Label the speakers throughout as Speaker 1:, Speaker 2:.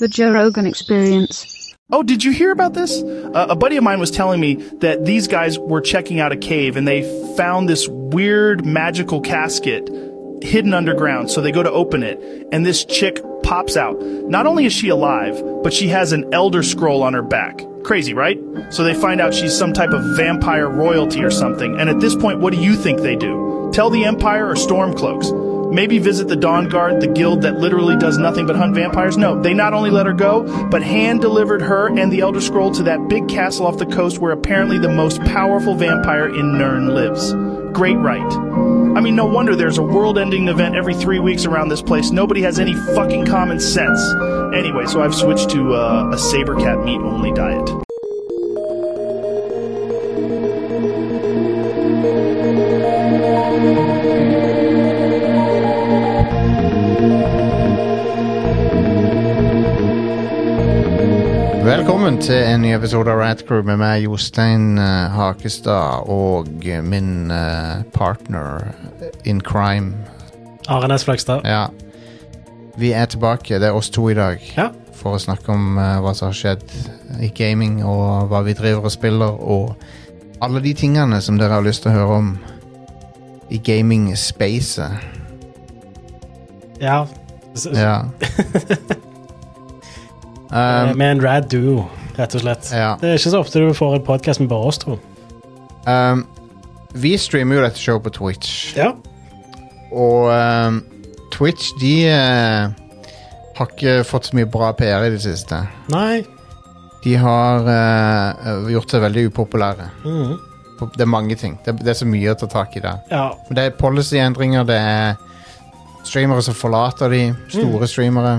Speaker 1: The Joe Rogan Experience.
Speaker 2: Oh, did you hear about this? Uh, a buddy of mine was telling me that these guys were checking out a cave and they found this weird magical casket hidden underground. So they go to open it and this chick pops out. Not only is she alive, but she has an elder scroll on her back. Crazy, right? So they find out she's some type of vampire royalty or something. And at this point, what do you think they do? Tell the Empire or Stormcloaks? Maybe visit the Dawn Guard, the guild that literally does nothing but hunt vampires? No, they not only let her go, but hand delivered her and the Elder Scroll to that big castle off the coast where apparently the most powerful vampire in Nern lives. Great right. I mean, no wonder there's a world ending event every three weeks around this place. Nobody has any fucking common sense. Anyway, so I've switched to uh, a saber cat meat only diet.
Speaker 3: Velkommen til en ny episode av Rad Crew med meg, Jostein eh, Hakestad, og eh, min eh, partner in crime.
Speaker 4: Arenes Fløgstad.
Speaker 3: Ja. Vi er tilbake, det er oss to i dag,
Speaker 4: Ja.
Speaker 3: for å snakke om eh, hva som har skjedd i gaming, og hva vi driver og spiller, og alle de tingene som dere har lyst til å høre om i gaming-spacet.
Speaker 4: ja. S- s-
Speaker 3: Ja.
Speaker 4: eh,
Speaker 3: um,
Speaker 4: Med en eh, rad duo, rett og slett.
Speaker 3: ja.
Speaker 4: Det er ikke så ofte du får en podkast med bare oss to.
Speaker 3: Um, vi streamer jo dette showet på Twitch.
Speaker 4: Ja.
Speaker 3: Og ehm, Twitch, de eh, har ikke fått så mye bra PR i det siste.
Speaker 4: Nei.
Speaker 3: De har eh, gjort seg veldig upopulære.
Speaker 4: Mhm.
Speaker 3: Det er mange ting. Det, det er så mye å ta tak i der.
Speaker 4: Ja.
Speaker 3: Men Det er policy-endringer, det er streamere som forlater de, store streamere.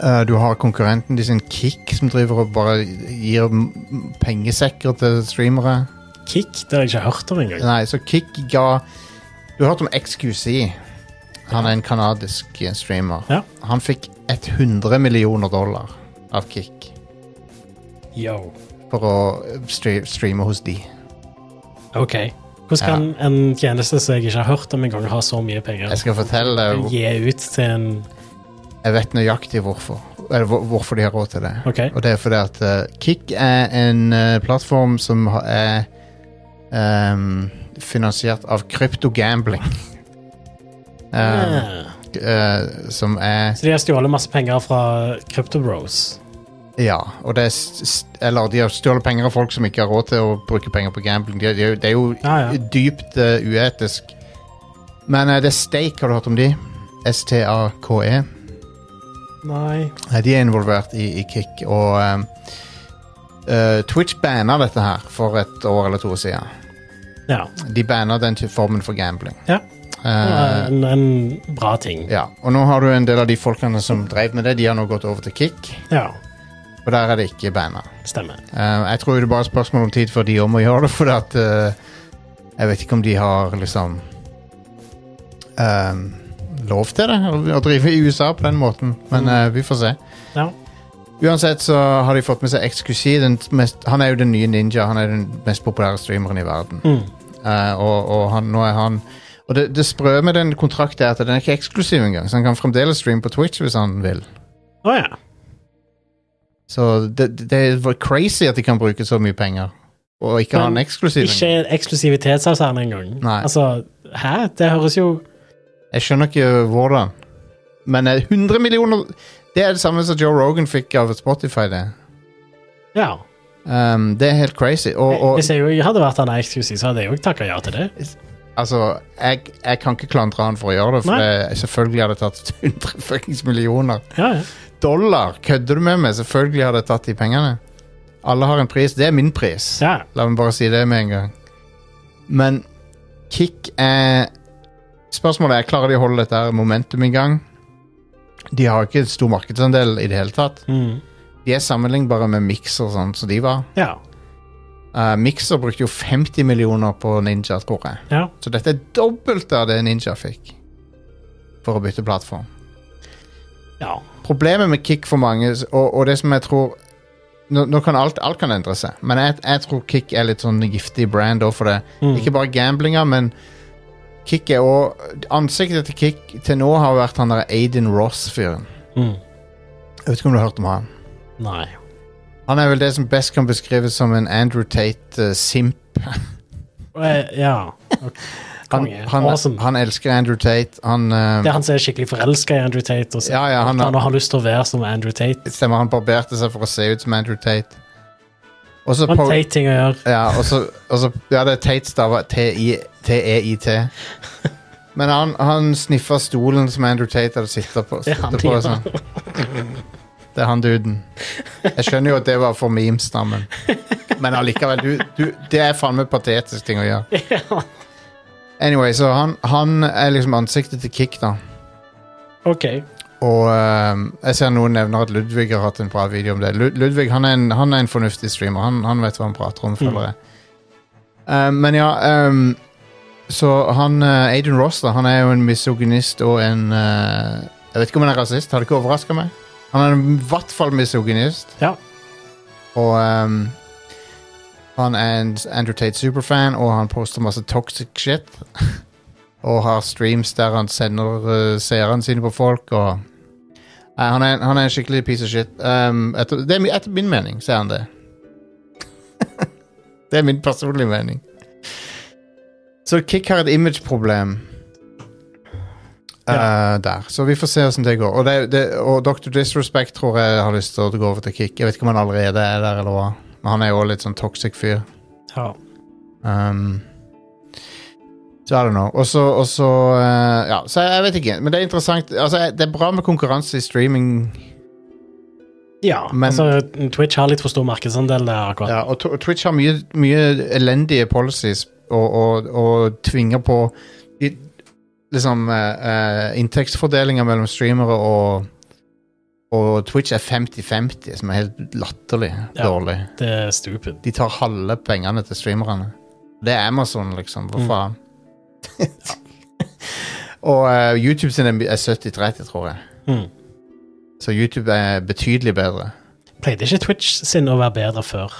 Speaker 3: Eh, du har konkurrenten de sin Kick, som driver og bare gir m- pengesekker til streamere.
Speaker 4: Kick, det har jeg ikke hørt om engang.
Speaker 3: Nei, så Kick ga Du har hørt om XQC. Han er en kanadisk eh, streamer.
Speaker 4: Ja.
Speaker 3: Han fikk 100 millioner dollar av Kick
Speaker 4: Yo.
Speaker 3: for å eh, stre- streame hos de.
Speaker 4: OK. Hvordan kan en tjeneste som jeg ikke har hørt om engang, ha så mye penger?
Speaker 3: Jeg skal fortelle deg hvor-
Speaker 4: Gi ut til en
Speaker 3: Jeg vet nøyaktig hvorfor. Eller hvor- hvorfor de har råd til det.
Speaker 4: OK.
Speaker 3: Og det er fordi at eh, Kick er en eh, plattform som ha- er ehm, finansiert av kryptogambling. uh,
Speaker 4: Ah.
Speaker 3: eh, som er
Speaker 4: Så de har stjålet masse penger fra Crypto Bros.
Speaker 3: Ja, og det er st st- eller de har stjålet penger av folk som ikke har råd til å bruke penger på gambling. De, de, det er jo
Speaker 4: Ja, ja.
Speaker 3: dypt eh, uetisk. Men eh, det er Stake, har du hørt om de? S-T-A-K-E.
Speaker 4: Nei.
Speaker 3: Eh, E. De er involvert i, i Kick, og eh, eh, Twitch banna dette her for et år eller to siden.
Speaker 4: Ja.
Speaker 3: De banna den ty- formen for gambling.
Speaker 4: Ja.
Speaker 3: Eh,
Speaker 4: En, en bra ting.
Speaker 3: ja. Og nå har du en del av de folkene som drev med det, de har nå gått over til Kick,
Speaker 4: Ja.
Speaker 3: og der er det ikke banna.
Speaker 4: Stemmer.
Speaker 3: Eh, jeg tror det er bare et spørsmål om tid før de om å gjøre det, for at eh, Jeg vet ikke om de har liksom eh, lov til det, å, å drive i USA på den måten, men eh, vi får se.
Speaker 4: Ja.
Speaker 3: Uansett så har de fått med seg XQC. Den mest, han er jo den nye ninja. Han er den mest populære streameren i verden.
Speaker 4: Mm.
Speaker 3: Eh, og og han, nå er han Og det, det sprø med den kontrakten er at den er ikke eksklusiv engang, så han kan fremdeles streame på Twitch hvis han vil.
Speaker 4: Å ja.
Speaker 3: Så det, det er crazy at de kan bruke så mye penger og ikke ha
Speaker 4: Men
Speaker 3: en eksklusiv.
Speaker 4: Ikke en eksklusivitetsavtale engang.
Speaker 3: Nei.
Speaker 4: Altså, hæ? Det høres jo
Speaker 3: Jeg skjønner ikke hvordan. Men eh, 100 millioner Det er det samme som Joe Rogan fikk av Spotify. Det
Speaker 4: Ja.
Speaker 3: um, Det er helt crazy. Og, og
Speaker 4: Hvis jeg jo hadde vært han eksklusiv, så hadde jeg òg takka ja til det.
Speaker 3: altså, jeg, jeg kan ikke klandre han for å gjøre det, for
Speaker 4: Nei.
Speaker 3: jeg, selvfølgelig hadde jeg tatt 100 fuckings millioner
Speaker 4: Ja, ja.
Speaker 3: dollar. Kødder du med meg? Selvfølgelig hadde jeg tatt de pengene. Alle har en pris. Det er min pris.
Speaker 4: ja.
Speaker 3: La meg bare si det med en gang. Men kick er Spørsmålet er klarer de å holde dette her momentum i gang. De har ikke stor markedsandel i det hele tatt.
Speaker 4: Mm.
Speaker 3: De er sammenlignbare med Mixer, sånn som de var.
Speaker 4: ja.
Speaker 3: Eh, Mixer brukte jo 50 millioner på Ninja, tror jeg.
Speaker 4: Ja.
Speaker 3: Så dette er dobbelt av det Ninja fikk for å bytte plattform.
Speaker 4: Ja.
Speaker 3: Problemet med Kick for mange, og, og det som jeg tror Nå, nå kan alt, alt kan endre seg, men jeg, jeg tror Kick er litt sånn giftig brand også for det.
Speaker 4: Mm.
Speaker 3: Ikke bare gamblinga, men Kick er òg Ansiktet til Kick til nå har vært han der Aiden Ross-fyren.
Speaker 4: Mm.
Speaker 3: Jeg vet ikke om du har hørt om han.
Speaker 4: Nei.
Speaker 3: Han er vel det som best kan beskrives som en Andrew Tate-simp.
Speaker 4: Eh, ja. ok.
Speaker 3: han,
Speaker 4: Konge.
Speaker 3: han,
Speaker 4: awesome.
Speaker 3: han elsker Andrew Tate. Han eh,
Speaker 4: det er han som er skikkelig forelska i Andrew Tate. Og så,
Speaker 3: Ja, ja, han-
Speaker 4: han, har lyst til å være som Andrew Tate.
Speaker 3: Stemmer, han barberte seg for å se ut som Andrew Tate. Og så
Speaker 4: Han
Speaker 3: po-
Speaker 4: Tate ting å gjøre.
Speaker 3: Ja, og så, og så Ja, det er Tate stava T-I- T-E-I-T. Men han, han sniffa stolen som Andrew Tate hadde sittet på.
Speaker 4: Det er han
Speaker 3: sittet på og
Speaker 4: typen.
Speaker 3: sånn. Det er han duden. Jeg skjønner jo at det var for memes, da, men Men allikevel, du, du, det er faen meg patetisk ting å gjøre. Anyway, så han, han er liksom ansiktet til Kick, da.
Speaker 4: Ok.
Speaker 3: Og ehm, jeg ser noen nevner at Ludvig har hatt en bra video om det. Lud Ludvig han er, en, han er en fornuftig streamer. Han, han vet hva han prater om, føler jeg. Ehm, men ja ehm, Så han eh, Aiden Ross da, han er jo en misogynist og en eh, Jeg vet ikke om han er rasist, har det ikke overraska meg? Han er i hvert fall misogynist.
Speaker 4: Ja.
Speaker 3: Og ehm, han er en Andrew Tate superfan, og han poster masse toxic shit. og har streams der han sender eh, seerne sine på folk, og Nei, han, er, han er en skikkelig piece of shit. Ehm, etter, det er, mi- etter min mening, så er han det. det er min personlige mening. Så Kick har et image-problem. Eh, der. Så vi får se hvordan det går. Og, det, det, og Dr. Disrespect tror jeg har lyst til å gå over til Kick. Jeg vet ikke om han allerede er der, eller hva. Men han er jo også litt sånn toxic fyr.
Speaker 4: ja.
Speaker 3: Um, så I don't know. Og så, og så eh, Ja, så jeg, jeg vet ikke. Men det er interessant. Altså, jeg- det er bra med konkurranse i streaming.
Speaker 4: ja.
Speaker 3: Men-
Speaker 4: altså, Twitch har litt for stor markedsandel der akkurat.
Speaker 3: Ja, og Tw- Twitch har mye, mye elendige policies og, og, og tvinger på i- liksom eh, eh, inntektsfordelinger mellom streamere og og Twitch er 50-50, som er helt latterlig
Speaker 4: Ja.
Speaker 3: dårlig.
Speaker 4: Det er stupid.
Speaker 3: De tar halve pengene til streamerne. Det er Amazon, liksom. Hva
Speaker 4: Mm.
Speaker 3: faen? og eh, YouTube sin er er 70-30, tror jeg.
Speaker 4: Mm.
Speaker 3: Så YouTube er betydelig bedre.
Speaker 4: Pleide ikke Twitch sin å være bedre før?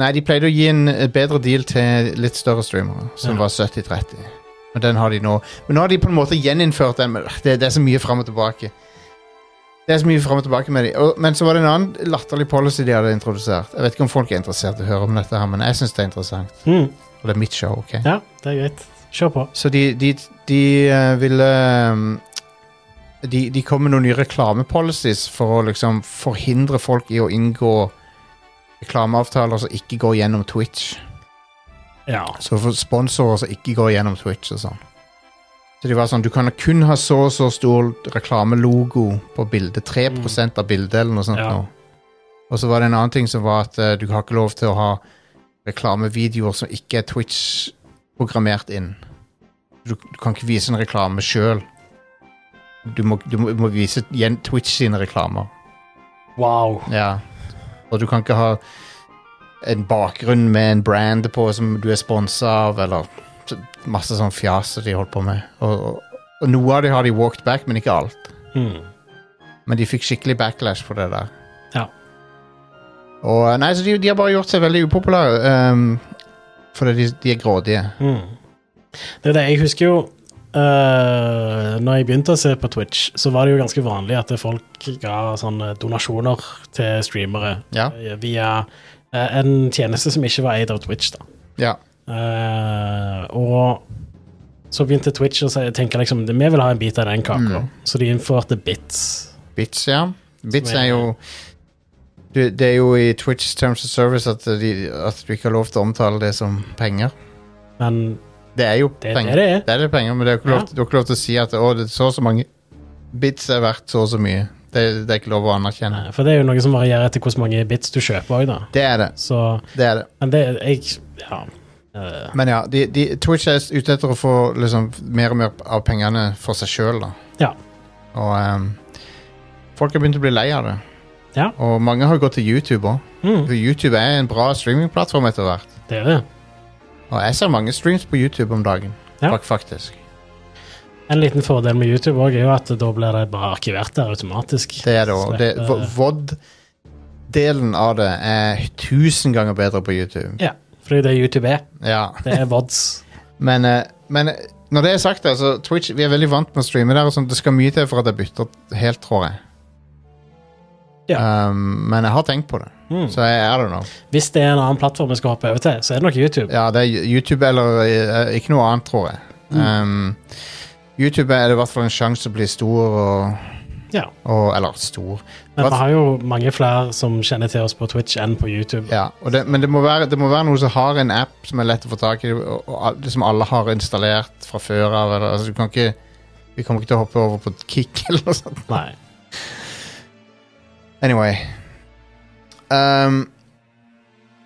Speaker 3: Nei, de pleide å gi en et bedre deal til litt større streamere, som
Speaker 4: Ja.
Speaker 3: var 70-30. Men den har de nå. Men nå har de på en måte gjeninnført den. Men det, det er så mye fram og tilbake. Det er så mye frem og tilbake med de. Og, men så var det en annen latterlig policy de hadde introdusert. Jeg vet ikke om folk er interessert i å høre om dette, her, men jeg syns det er interessant.
Speaker 4: Mm.
Speaker 3: Og det er mitt show, OK?
Speaker 4: Ja, det er greit. Kjør på.
Speaker 3: Så de, de, de eh, ville ehm, de, de kom med noen nye reklamepolicies for å liksom forhindre folk i å inngå reklameavtaler som ikke går gjennom Twitch.
Speaker 4: Ja.
Speaker 3: Så for sponsorer som ikke går gjennom Twitch og sånn. Så de var sånn, du kan kun ha så og så stor reklamelogo på bildet. 3 av bildet eller noe sånt.
Speaker 4: Ja.
Speaker 3: nå. Og så var det en annen ting som var at eh, du har ikke lov til å ha reklamevideoer som ikke er Twitch-programmert inn. Du, du kan ikke vise en reklame sjøl. Du, må- du, må- du må vise gjen- Twitch sine reklamer.
Speaker 4: Wow.
Speaker 3: Ja. Og du kan ikke ha en bakgrunn med en brand på som du er sponsa av, eller så- masse sånn fjas som de holdt på med. Og, og, og noe av det har de walked back, men ikke alt.
Speaker 4: Mm.
Speaker 3: Men de fikk skikkelig backlash på det der.
Speaker 4: Ja.
Speaker 3: Og eh, nei, så de, de har bare gjort seg veldig upopulære ehm, fordi de, de er grådige.
Speaker 4: Mm. Det er det. Jeg husker jo eh, Når jeg begynte å se på Twitch, så var det jo ganske vanlig at folk ga sånne donasjoner til streamere
Speaker 3: Ja.
Speaker 4: eh, via eh, en tjeneste som ikke var eid av Twitch. da.
Speaker 3: Ja.
Speaker 4: Eh, og så begynte Twitch å si- tenke liksom vi vil ha en bit av den kaka, så de innførte bits.
Speaker 3: Bits, ja. Bits
Speaker 4: Som er-
Speaker 3: er jo det, det er jo i Twitch Terms of Service at, de, at du ikke har lov til å omtale det som penger.
Speaker 4: Men
Speaker 3: Det er jo
Speaker 4: det er
Speaker 3: penger.
Speaker 4: det det er.
Speaker 3: Det er det penger, men det er jo ikke lov,
Speaker 4: Ja.
Speaker 3: du har ikke lov til å si at å, det er så og så mange bits er verdt så og så mye. Det, det er ikke lov å anerkjenne.
Speaker 4: Eh, For det er jo noe som varierer etter hvor mange bits du kjøper òg, da.
Speaker 3: Det er det.
Speaker 4: Så
Speaker 3: det er det.
Speaker 4: Men det jeg, Ja. eh,
Speaker 3: Men ja, de, de, Twitch er ute etter å få liksom, mer og mer av pengene for seg sjøl, da.
Speaker 4: Ja.
Speaker 3: Og ehm, folk har begynt å bli lei av det.
Speaker 4: Ja.
Speaker 3: Og mange har gått til YouTube òg.
Speaker 4: mm,
Speaker 3: For YouTube er en bra streamingplattform etter hvert.
Speaker 4: det er det.
Speaker 3: Og jeg ser mange streams på YouTube om dagen.
Speaker 4: Ja.
Speaker 3: Fak- Faktisk.
Speaker 4: En liten fordel med YouTube også er jo at da blir det bare arkivert der automatisk.
Speaker 3: Det er det òg. Det-
Speaker 4: Slipper-
Speaker 3: v- VOD-delen av det er tusen ganger bedre på YouTube.
Speaker 4: Ja, fordi det er YouTube er.
Speaker 3: Ja.
Speaker 4: Det er VODs.
Speaker 3: Men, eh, men eh, når det er sagt, altså, Twitch, vi er veldig vant med å streame der. Og sånn, det skal mye til for at jeg bytter helt, tror jeg. Um, men jeg har tenkt på det.
Speaker 4: Mm.
Speaker 3: Så jeg, I don't know.
Speaker 4: Hvis det er en annen plattform vi skal hoppe over til, så er det nok YouTube.
Speaker 3: Ja, det er YouTube eller eh, ikke noe annet, tror jeg.
Speaker 4: Mm.
Speaker 3: Um, YouTube er det i hvert fall en sjanse til å bli stor og,
Speaker 4: Ja.
Speaker 3: og Eller stor.
Speaker 4: Men
Speaker 3: Hva-
Speaker 4: vi har jo mange flere som kjenner til oss på Twitch enn på YouTube.
Speaker 3: Ja, og det, men det må, være, det må være noe som har en app som er lett å få tak i, og, og al- som alle har installert fra før av. Eller, altså, du kan ikke, vi kommer ikke til å hoppe over på Kick eller noe sånt.
Speaker 4: Nei.
Speaker 3: Anyway. Um,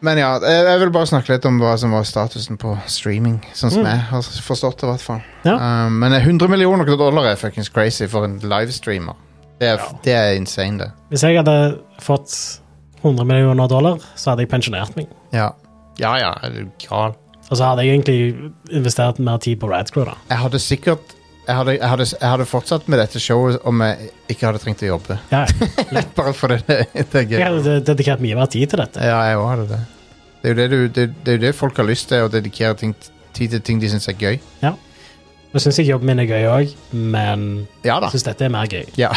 Speaker 3: men ja, jeg, jeg vil bare snakke litt om hva som var statusen på streaming. Sånn som
Speaker 4: Mm.
Speaker 3: jeg har forstått det, i hvert fall.
Speaker 4: Ja.
Speaker 3: Um, men 100 millioner dollar er fuckings crazy for en livestreamer. Det er,
Speaker 4: Ja.
Speaker 3: det er insane, det.
Speaker 4: Hvis jeg hadde fått 100 millioner dollar, så hadde jeg pensjonert meg.
Speaker 3: Ja ja, ja er du gal.
Speaker 4: Og så hadde jeg egentlig investert mer tid på Radcrew, da.
Speaker 3: Jeg hadde sikkert jeg hadde, jeg, hadde, jeg hadde fortsatt med dette showet om jeg ikke hadde trengt å jobbe.
Speaker 4: Ja,
Speaker 3: Bare fordi det, det er gøy.
Speaker 4: jeg hadde de- dedikert mye mer tid til dette.
Speaker 3: Ja, jeg òg hadde det. Det er, jo det, du, det, det er jo det folk har lyst til, å dedikere ting, tid til ting de syns er gøy.
Speaker 4: Nå syns jeg jobben min er gøy òg, men
Speaker 3: Ja da.
Speaker 4: jeg syns dette er mer gøy.
Speaker 3: Ja.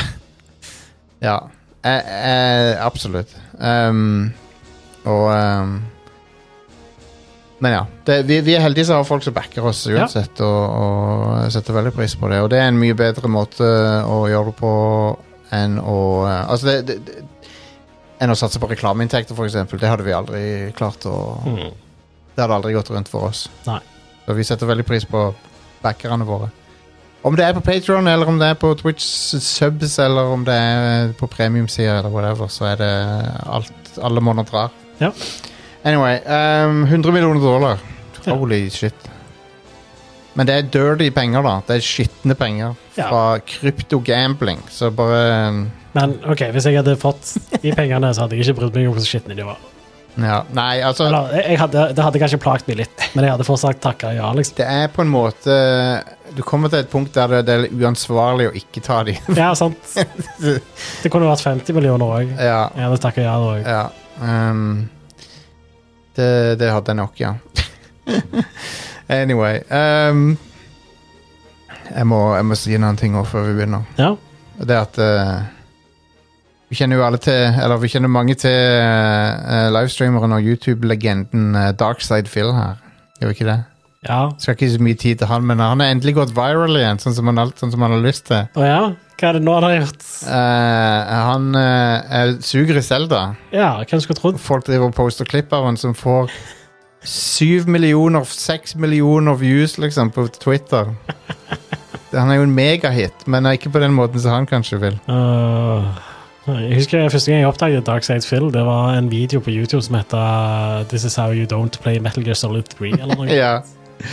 Speaker 3: ja. Eh, eh, absolutt. Ehm, og ehm, Men ja. Det, vi, vi er heldige som har folk som backer oss uansett, og, og setter veldig pris på det. Og det er en mye bedre måte eh, å gjøre det på enn å eh, Altså, det, det, det enn å satse på reklameinntekter, f.eks. Det hadde vi aldri klart å
Speaker 4: Mm.
Speaker 3: Det hadde aldri gått rundt for oss.
Speaker 4: Nei.
Speaker 3: Så vi setter veldig pris på backerne våre. Om det er på Patreon eller om det er på Twitch subs, eller om det er på premiumsider, eller whatever, så er det alt alle måneder drar.
Speaker 4: Ja.
Speaker 3: Anyway, ehm, 100 millioner dollar.
Speaker 4: Ja.
Speaker 3: Holy shit. Men det er dirty penger, da. Det er skitne penger
Speaker 4: Ja.
Speaker 3: fra kryptogambling, så bare ehm,
Speaker 4: Men OK, hvis jeg hadde fått de pengene, så hadde jeg ikke brydd meg om hvor skitne de var.
Speaker 3: Ja. Nei, altså
Speaker 4: Eller, jeg- jeg hadde, det hadde kanskje plaget meg litt, men jeg hadde fortsatt takka ja, liksom.
Speaker 3: Det er på en måte Du kommer til et punkt der det det er uansvarlig å ikke ta de.
Speaker 4: Ja, sant. Det kunne vært 50 millioner òg.
Speaker 3: ja.
Speaker 4: Jeg hadde takka ja da òg.
Speaker 3: Ja. ehm, det, det hadde jeg nok, ja. anyway ehm, jeg, må, jeg må si en annen ting også før vi begynner.
Speaker 4: Ja.
Speaker 3: Og Det er at eh, Vi kjenner jo alle til Eller vi kjenner mange til eh, livestreameren og YouTube-legenden eh, Darkside Phil her. Gjør vi ikke det?
Speaker 4: ja.
Speaker 3: Skal ikke så mye tid til han, men han har endelig gått viral igjen, sånn som han, alt, sånn som han har lyst til.
Speaker 4: Å ja? Hva er det nå han har gjort?
Speaker 3: Eh, han eh, er suger i Selda.
Speaker 4: Ja, hvem skulle trodd?
Speaker 3: folk driver og poster klipp av han som får syv millioner, seks millioner views, liksom, på Twitter. Han er jo en megahit, men ikke på den måten som han kanskje vil.
Speaker 4: Øh, jeg husker Første gang jeg oppdaget Dark Sides Phil, det var en video på YouTube som heter uh, This is how you don't play Metal Gear Solid 3, eller noe.
Speaker 3: Ja,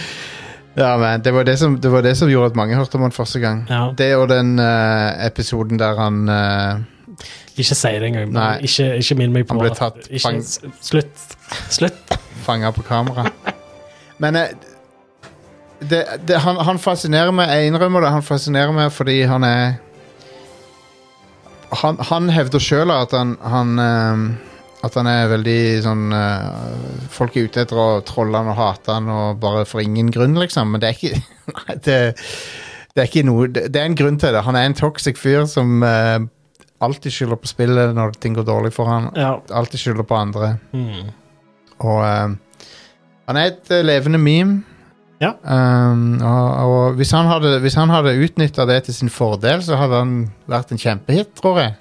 Speaker 3: ja men det var det, som, det var det som gjorde at mange hørte om han første gang.
Speaker 4: Ja.
Speaker 3: Det og den eh, episoden der han eh,
Speaker 4: Ikke si det engang.
Speaker 3: Nei.
Speaker 4: men Ikke, ikke minn meg på
Speaker 3: Han ble
Speaker 4: at-
Speaker 3: tatt
Speaker 4: ikke,
Speaker 3: fang-
Speaker 4: s- Slutt. Slutt.
Speaker 3: fanga på kamera. Men eh, det, det, han, han fascinerer meg, jeg innrømmer det, han fascinerer meg fordi han er Han, han hevder sjøl at han, han eh, At han er veldig sånn eh, Folk er ute etter å trolle han og hate han og bare for ingen grunn, liksom. Men det er ikke Nei, det, det er ikke noe det, det er en grunn til det. Han er en toxic fyr som eh, alltid skylder på spillet når ting går dårlig for han.
Speaker 4: Ja.
Speaker 3: Alltid skylder på andre.
Speaker 4: Mm.
Speaker 3: Og ehm, han er et eh, levende meme.
Speaker 4: Ja.
Speaker 3: Ehm, og og hvis han hadde, hvis han hadde utnytta det til sin fordel, så hadde han vært en kjempehit, tror jeg.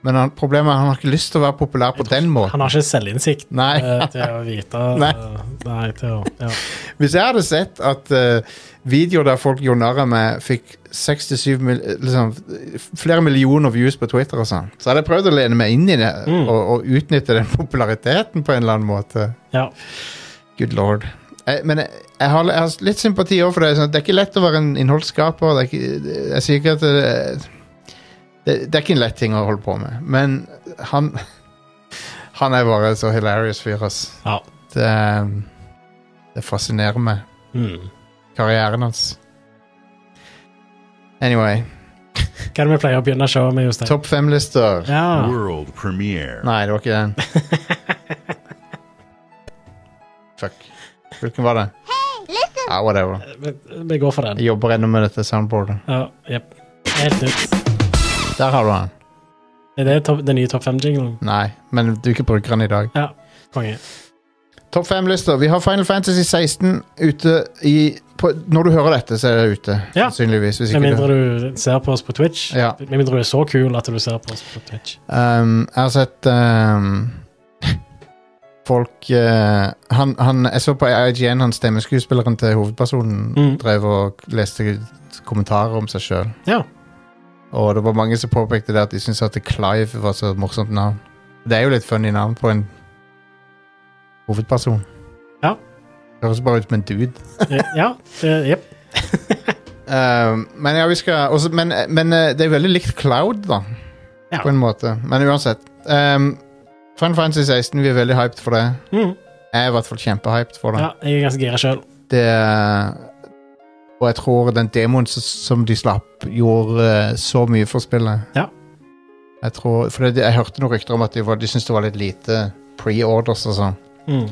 Speaker 3: Men han, problemet er at han har ikke lyst til å være populær på den måten.
Speaker 4: Han har ikke selvinnsikt
Speaker 3: Nei.
Speaker 4: eh, til å vite
Speaker 3: Nei.
Speaker 4: eh, Nei, til å ja.
Speaker 3: Hvis jeg hadde sett at eh, videoer der folk gjorde narr av meg, fikk 67 mil, liksom, flere millioner views på Twitter og sånn, så hadde jeg prøvd å lene meg inn i det
Speaker 4: Mm.
Speaker 3: og, og utnytte den populariteten på en eller annen måte.
Speaker 4: ja.
Speaker 3: Good lord. Jeg, men jeg, jeg, har, jeg har litt sympati også for det. Sånn, at det er ikke lett å være en innholdsskaper. Det er ikke, jeg sier ikke at det, det, det er ikke en lett ting å holde på med. Men han Han er bare så hilarious fyr, ass.
Speaker 4: Ja.
Speaker 3: Det, er- det fascinerer meg.
Speaker 4: Mm.
Speaker 3: Karrieren hans. Anyway.
Speaker 4: Hva er det vi pleier å begynne showet med, Jostein?
Speaker 3: Topp fem-lister.
Speaker 4: Ja.
Speaker 5: World premiere.
Speaker 3: Nei, det var ikke den. Fuck. Hvilken var det? Ja, whatever.
Speaker 4: Vi, vi går for den.
Speaker 3: Jeg jobber ennå med dette soundboardet.
Speaker 4: Ja, jepp. Helt nytt.
Speaker 3: Der har du han.
Speaker 4: Er det topp- den nye Topp 5-jinglen?
Speaker 3: Nei, men du ikke bruker den i dag.
Speaker 4: Ja. Konge.
Speaker 3: Topp fem-lister. Vi har Final Fantasy 16 ute i på, Når du hører dette, så er det ute.
Speaker 4: Ja.
Speaker 3: Sannsynligvis. Hvis
Speaker 4: Med
Speaker 3: ikke
Speaker 4: mindre
Speaker 3: du,
Speaker 4: du ser på oss på Twitch.
Speaker 3: Ja.
Speaker 4: Med mindre du er så kul at du ser på oss på Twitch.
Speaker 3: um, jeg har sett um, folk uh, han, han, Jeg så på IGN, han stemmeskuespilleren til hovedpersonen,
Speaker 4: Mm.
Speaker 3: drev og leste kommentarer om seg sjøl.
Speaker 4: Ja.
Speaker 3: Og det var mange som påpekte det at de syntes at Clive var så morsomt navn. Det er jo litt funny navn på en hovedperson.
Speaker 4: Ja.
Speaker 3: Høres bare ut som en dude.
Speaker 4: Ja, det, jep.
Speaker 3: Ehm, men ja, vi skal også, men, men eh, det er veldig likt Cloud, da.
Speaker 4: Ja.
Speaker 3: På en måte. Men uansett. Um, Final Fantasy 16, vi er veldig hyped for det.
Speaker 4: Mm.
Speaker 3: Jeg er i hvert fall kjempehyped for det.
Speaker 4: Ja, jeg er ganske gira sjøl.
Speaker 3: det er- og jeg tror den demoen s- som de slapp, gjorde eh, så mye for spillet.
Speaker 4: Ja.
Speaker 3: Jeg tror, for det, jeg hørte noen rykter om at de, var, de syntes det var litt lite pre-orders og sånn.
Speaker 4: Mm.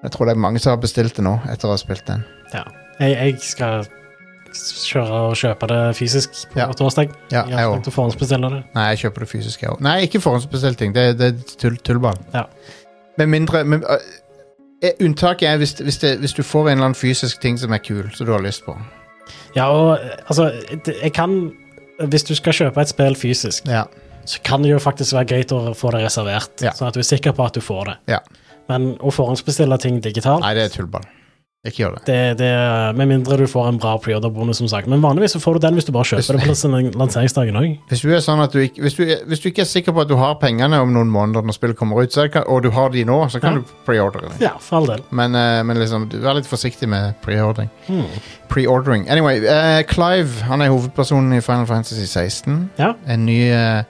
Speaker 3: Jeg tror det er mange som har bestilt det nå, etter å ha spilt den.
Speaker 4: Jeg, jeg skal s- kjøre og kjøpe det fysisk på
Speaker 3: Ja.
Speaker 4: torsdag.
Speaker 3: Ja,
Speaker 4: Jeg
Speaker 3: jeg
Speaker 4: har
Speaker 3: også.
Speaker 4: tenkt å forhåndsbestille det.
Speaker 3: Nei, jeg kjøper det fysisk, jeg òg. Nei, ikke forhåndsbestilt ting. Det, det er tull, tullball.
Speaker 4: Ja.
Speaker 3: Med mindre men, øh, eh, Unntaket er hvis, hvis, det, hvis du får en eller annen fysisk ting som er kul, som du har lyst på.
Speaker 4: Ja, og eh, altså, det- jeg kan Hvis du skal kjøpe et spill fysisk,
Speaker 3: Ja.
Speaker 4: så kan det jo faktisk være greit å få det reservert,
Speaker 3: Ja.
Speaker 4: sånn at du er sikker på at du får det.
Speaker 3: Ja.
Speaker 4: Men å forhåndsbestille ting digitalt
Speaker 3: Nei, det er tullball. Ikke gjør det.
Speaker 4: det, det, Med mindre du får en bra pre-order-bonus, som sagt. Men vanligvis så får du den hvis du bare kjøper det på lanse- lanseringsdagen òg.
Speaker 3: Hvis du, er sånn at du, ikke, hvis, du, er- hvis du ikke er sikker på at du har pengene om noen måneder når spillet kommer ut, så er det, kan- og du har de nå, så kan
Speaker 4: Ja.
Speaker 3: du preordre det.
Speaker 4: Ja, for all del.
Speaker 3: Men, eh, men liksom, du- vær litt forsiktig med preordring.
Speaker 4: Hmm.
Speaker 3: Pre-ordering. Anyway, eh, Clive han er hovedpersonen i Final Fantasy 16.
Speaker 4: Ja.
Speaker 3: En ny eh,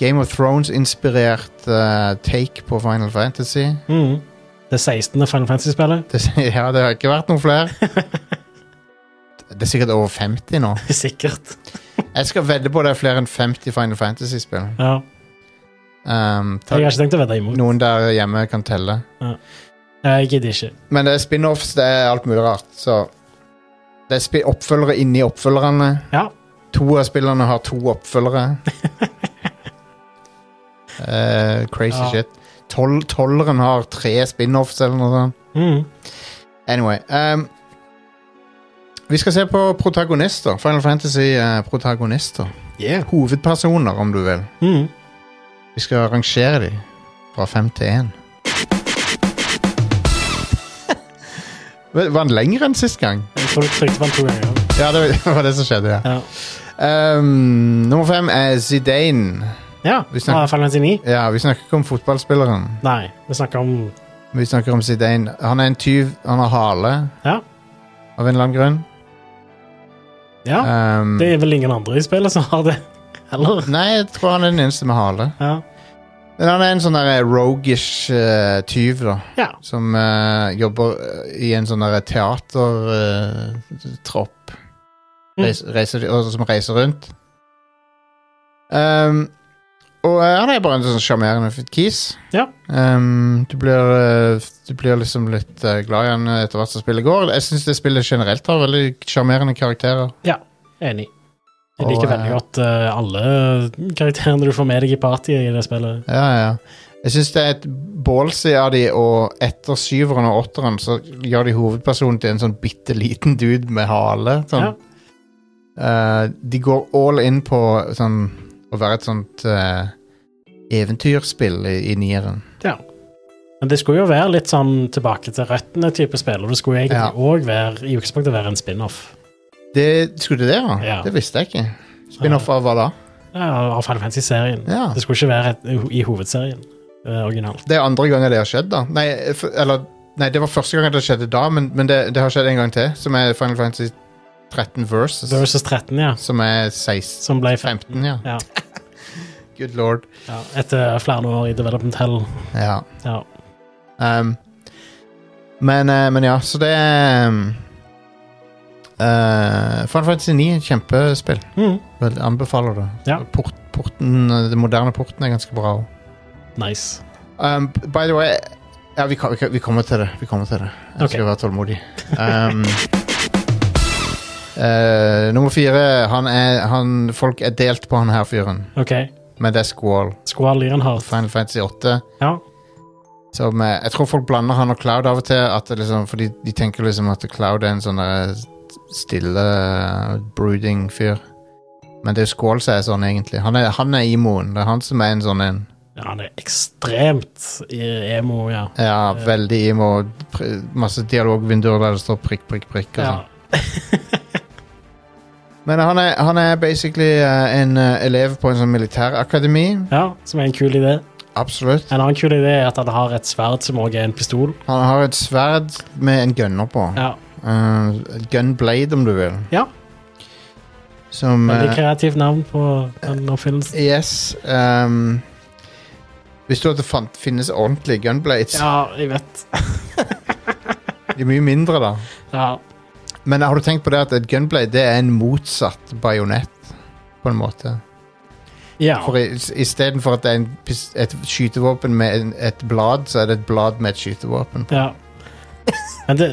Speaker 3: Game of Thrones-inspirert eh, take på Final Fantasy.
Speaker 4: Mm. Det 16. Final Fantasy-spillet.
Speaker 3: Det, s- ja, det har ikke vært noen flere. Det er sikkert over 50 nå.
Speaker 4: Sikkert.
Speaker 3: Jeg skal vedde på det er flere enn 50 Final Fantasy-spill.
Speaker 4: Ja.
Speaker 3: Um, ta-
Speaker 4: Jeg har ikke tenkt å vedde imot.
Speaker 3: noen der hjemme kan telle.
Speaker 4: Jeg gidder ikke.
Speaker 3: Men det er spin-offs, det er alt mulig rart. Så det er spi- oppfølgere inni oppfølgerne.
Speaker 4: Ja.
Speaker 3: To av spillerne har to oppfølgere. Eh, crazy
Speaker 4: Ja.
Speaker 3: shit. Tol tolveren har tre spin-offs eller noe sånt.
Speaker 4: Mm.
Speaker 3: Anyway ehm, Vi skal se på protagonister. Final Fantasy-protagonister. Hovedpersoner, om du vil.
Speaker 4: Mm.
Speaker 3: Vi skal rangere dem fra fem til én. Var den lengre enn sist gang?
Speaker 4: Jeg tror du trykte på den to ganger.
Speaker 3: Ja, det var det som skjedde. ja.
Speaker 4: Ja.
Speaker 3: Ehm, nummer fem er Zidane.
Speaker 4: ja.
Speaker 3: Vi snakker-
Speaker 4: Ah, Final Fantasy 9?
Speaker 3: Ja, Vi snakker ikke om fotballspilleren.
Speaker 4: Nei. Vi snakker om
Speaker 3: Vi snakker om Zidane. Han er en tyv. Han har hale
Speaker 4: Ja.
Speaker 3: av en eller annen grunn.
Speaker 4: Ja.
Speaker 3: Ehm,
Speaker 4: Det er vel ingen andre i spillet som har det heller.
Speaker 3: Nei, jeg tror han er den eneste med hale.
Speaker 4: Ja.
Speaker 3: Men han er en sånn der rogish eh, tyv, da.
Speaker 4: ja.
Speaker 3: Som eh, jobber eh, i en sånn teatertropp.
Speaker 4: Mm.
Speaker 3: Som reiser rundt. Um, og eh, han er bare en sånn sjarmerende f- kis.
Speaker 4: Ja.
Speaker 3: Um, du, blir, eh, du blir liksom litt eh, glad i han eh, etter hvert som spillet går. Jeg syns det spillet generelt har veldig sjarmerende karakterer.
Speaker 4: Enig. Jeg
Speaker 3: Og,
Speaker 4: liker veldig
Speaker 3: eh,
Speaker 4: godt eh, alle karakterene du får med deg i partyet i det spillet.
Speaker 3: Ja, ja. Jeg syns det er et ballsy av de, og etter syveren og åtteren så gjør de hovedpersonen til en sånn bitte liten dude med hale. Sånn.
Speaker 4: Ja.
Speaker 3: Eh, de går all in på sånn, å være et sånt eh, eventyrspill i, i nieren.
Speaker 4: Men det skulle jo være litt sånn tilbake til røttene-type spill, og det
Speaker 3: Ja.
Speaker 4: skulle egentlig òg være i utgangspunktet være en spin-off
Speaker 3: Det skulle det, da?
Speaker 4: Ja.
Speaker 3: Det visste jeg ikke. Spin-off av hva da?
Speaker 4: ja, eh, av Final Fantasy-serien.
Speaker 3: Ja.
Speaker 4: Det skulle ikke være et, i hovedserien eh, originalt.
Speaker 3: Det er andre gangen det har skjedd, da. Nei, f eller, nei det var første gang det skjedde da, men, men det, det har skjedd en gang til, som er Final Fantasy 13 Versus.
Speaker 4: Versus 13, ja.
Speaker 3: Som er 16
Speaker 4: Som ble 15.
Speaker 3: 15, ja.
Speaker 4: Ja,
Speaker 3: Good lord.
Speaker 4: ja. Etter flere år i Development Hell.
Speaker 3: Ja.
Speaker 4: Ja.
Speaker 3: Um, men, eh, men ja, så det er um, eh, Final Fantasy 9 er et kjempespill.
Speaker 4: Mm.
Speaker 3: Vel, anbefaler det.
Speaker 4: Ja.
Speaker 3: Port, porten, eh, den moderne porten er ganske bra. også.
Speaker 4: Nice.
Speaker 3: Um, by the way ja, vi, kan- vi, kan- vi kommer til det. Vi kommer til det. Jeg
Speaker 4: Ok.
Speaker 3: skal være tålmodig. Um, eh, nummer fire han er, han, Folk er delt på han her fyren.
Speaker 4: OK.
Speaker 3: men det er Squall.
Speaker 4: Squall Leonhardt.
Speaker 3: Final Fantasy 8.
Speaker 4: Ja.
Speaker 3: Som, eh, jeg tror folk blander han og Cloud av og til, at det liksom, fordi de tenker liksom at Cloud er en sånn der stille, eh, brooding fyr. Men det er jo Squall som er sånn, egentlig. Han er, han er imoen. Det er han som er en sånn en.
Speaker 4: ja, han er ekstremt i- emo, ja.
Speaker 3: Ja, veldig imo. Pr- Masse dialogvinduer der det står prikk, prikk, prikk. Og sånn.
Speaker 4: ja.
Speaker 3: Men han er, han er basically eh, en eh, elev på en sånn militærakademi.
Speaker 4: Ja, som er en kul idé.
Speaker 3: Absolutt.
Speaker 4: En annen kul idé er at han har et sverd som også er en pistol.
Speaker 3: Han har et sverd med en gunner på.
Speaker 4: Ja,
Speaker 3: Eh, gunblade, om du vil.
Speaker 4: Ja.
Speaker 3: Som
Speaker 4: Veldig
Speaker 3: eh,
Speaker 4: kreativt navn på den oppfinnelsen.
Speaker 3: Yes. ehm, visste du at det fant, finnes ordentlige gunblades?
Speaker 4: Ja, jeg vet.
Speaker 3: De er mye mindre, da.
Speaker 4: Ja,
Speaker 3: Men har du tenkt på det at et gunblade det er en motsatt bajonett, på en måte?
Speaker 4: ja.
Speaker 3: For Istedenfor at det er en, pis- et skytevåpen med en, et blad, så er det et blad med et skytevåpen.
Speaker 4: ja. Men det,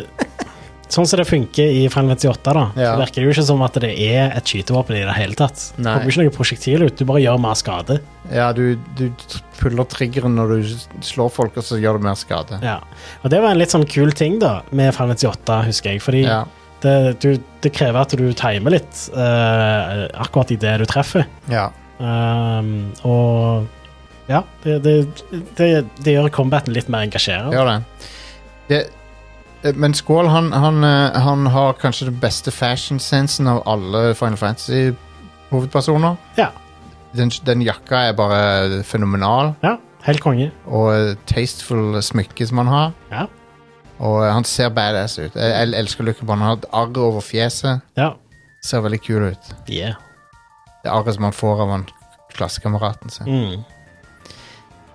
Speaker 4: sånn som det funker i Final Fantasy 8, da,
Speaker 3: Ja.
Speaker 4: så virker det jo ikke som at det er et skytevåpen i det hele tatt. Det
Speaker 3: Nei.
Speaker 4: kommer ikke noe prosjektil ut, du bare gjør mer skade.
Speaker 3: Ja, du, du tr- puller triggeren når du s- slår folk, og så gjør du mer skade.
Speaker 4: Ja. Og det var en litt sånn kul ting da med Final Fantasy 8, husker jeg. Fordi
Speaker 3: Ja.
Speaker 4: det, du, det krever at du timer litt eh, akkurat i det du treffer.
Speaker 3: ja.
Speaker 4: Um, og ja, det, det, det, det gjør combaten litt mer engasjerende.
Speaker 3: Gjør det. det eh, men Skål, han, han, eh, han har kanskje den beste fashion-sensen av alle Final Fantasy-hovedpersoner.
Speaker 4: Ja.
Speaker 3: Den, den jakka er bare fenomenal,
Speaker 4: Ja, helt konge.
Speaker 3: og eh, tasteful smykke som han har.
Speaker 4: Ja.
Speaker 3: Og eh, han ser badass ut. Jeg, jeg elsker looken på han. Han har et arr over fjeset.
Speaker 4: Ja.
Speaker 3: Ser veldig kul ut.
Speaker 4: Yeah.
Speaker 3: Det arret som han får av han klassekameraten sin.
Speaker 4: Mm.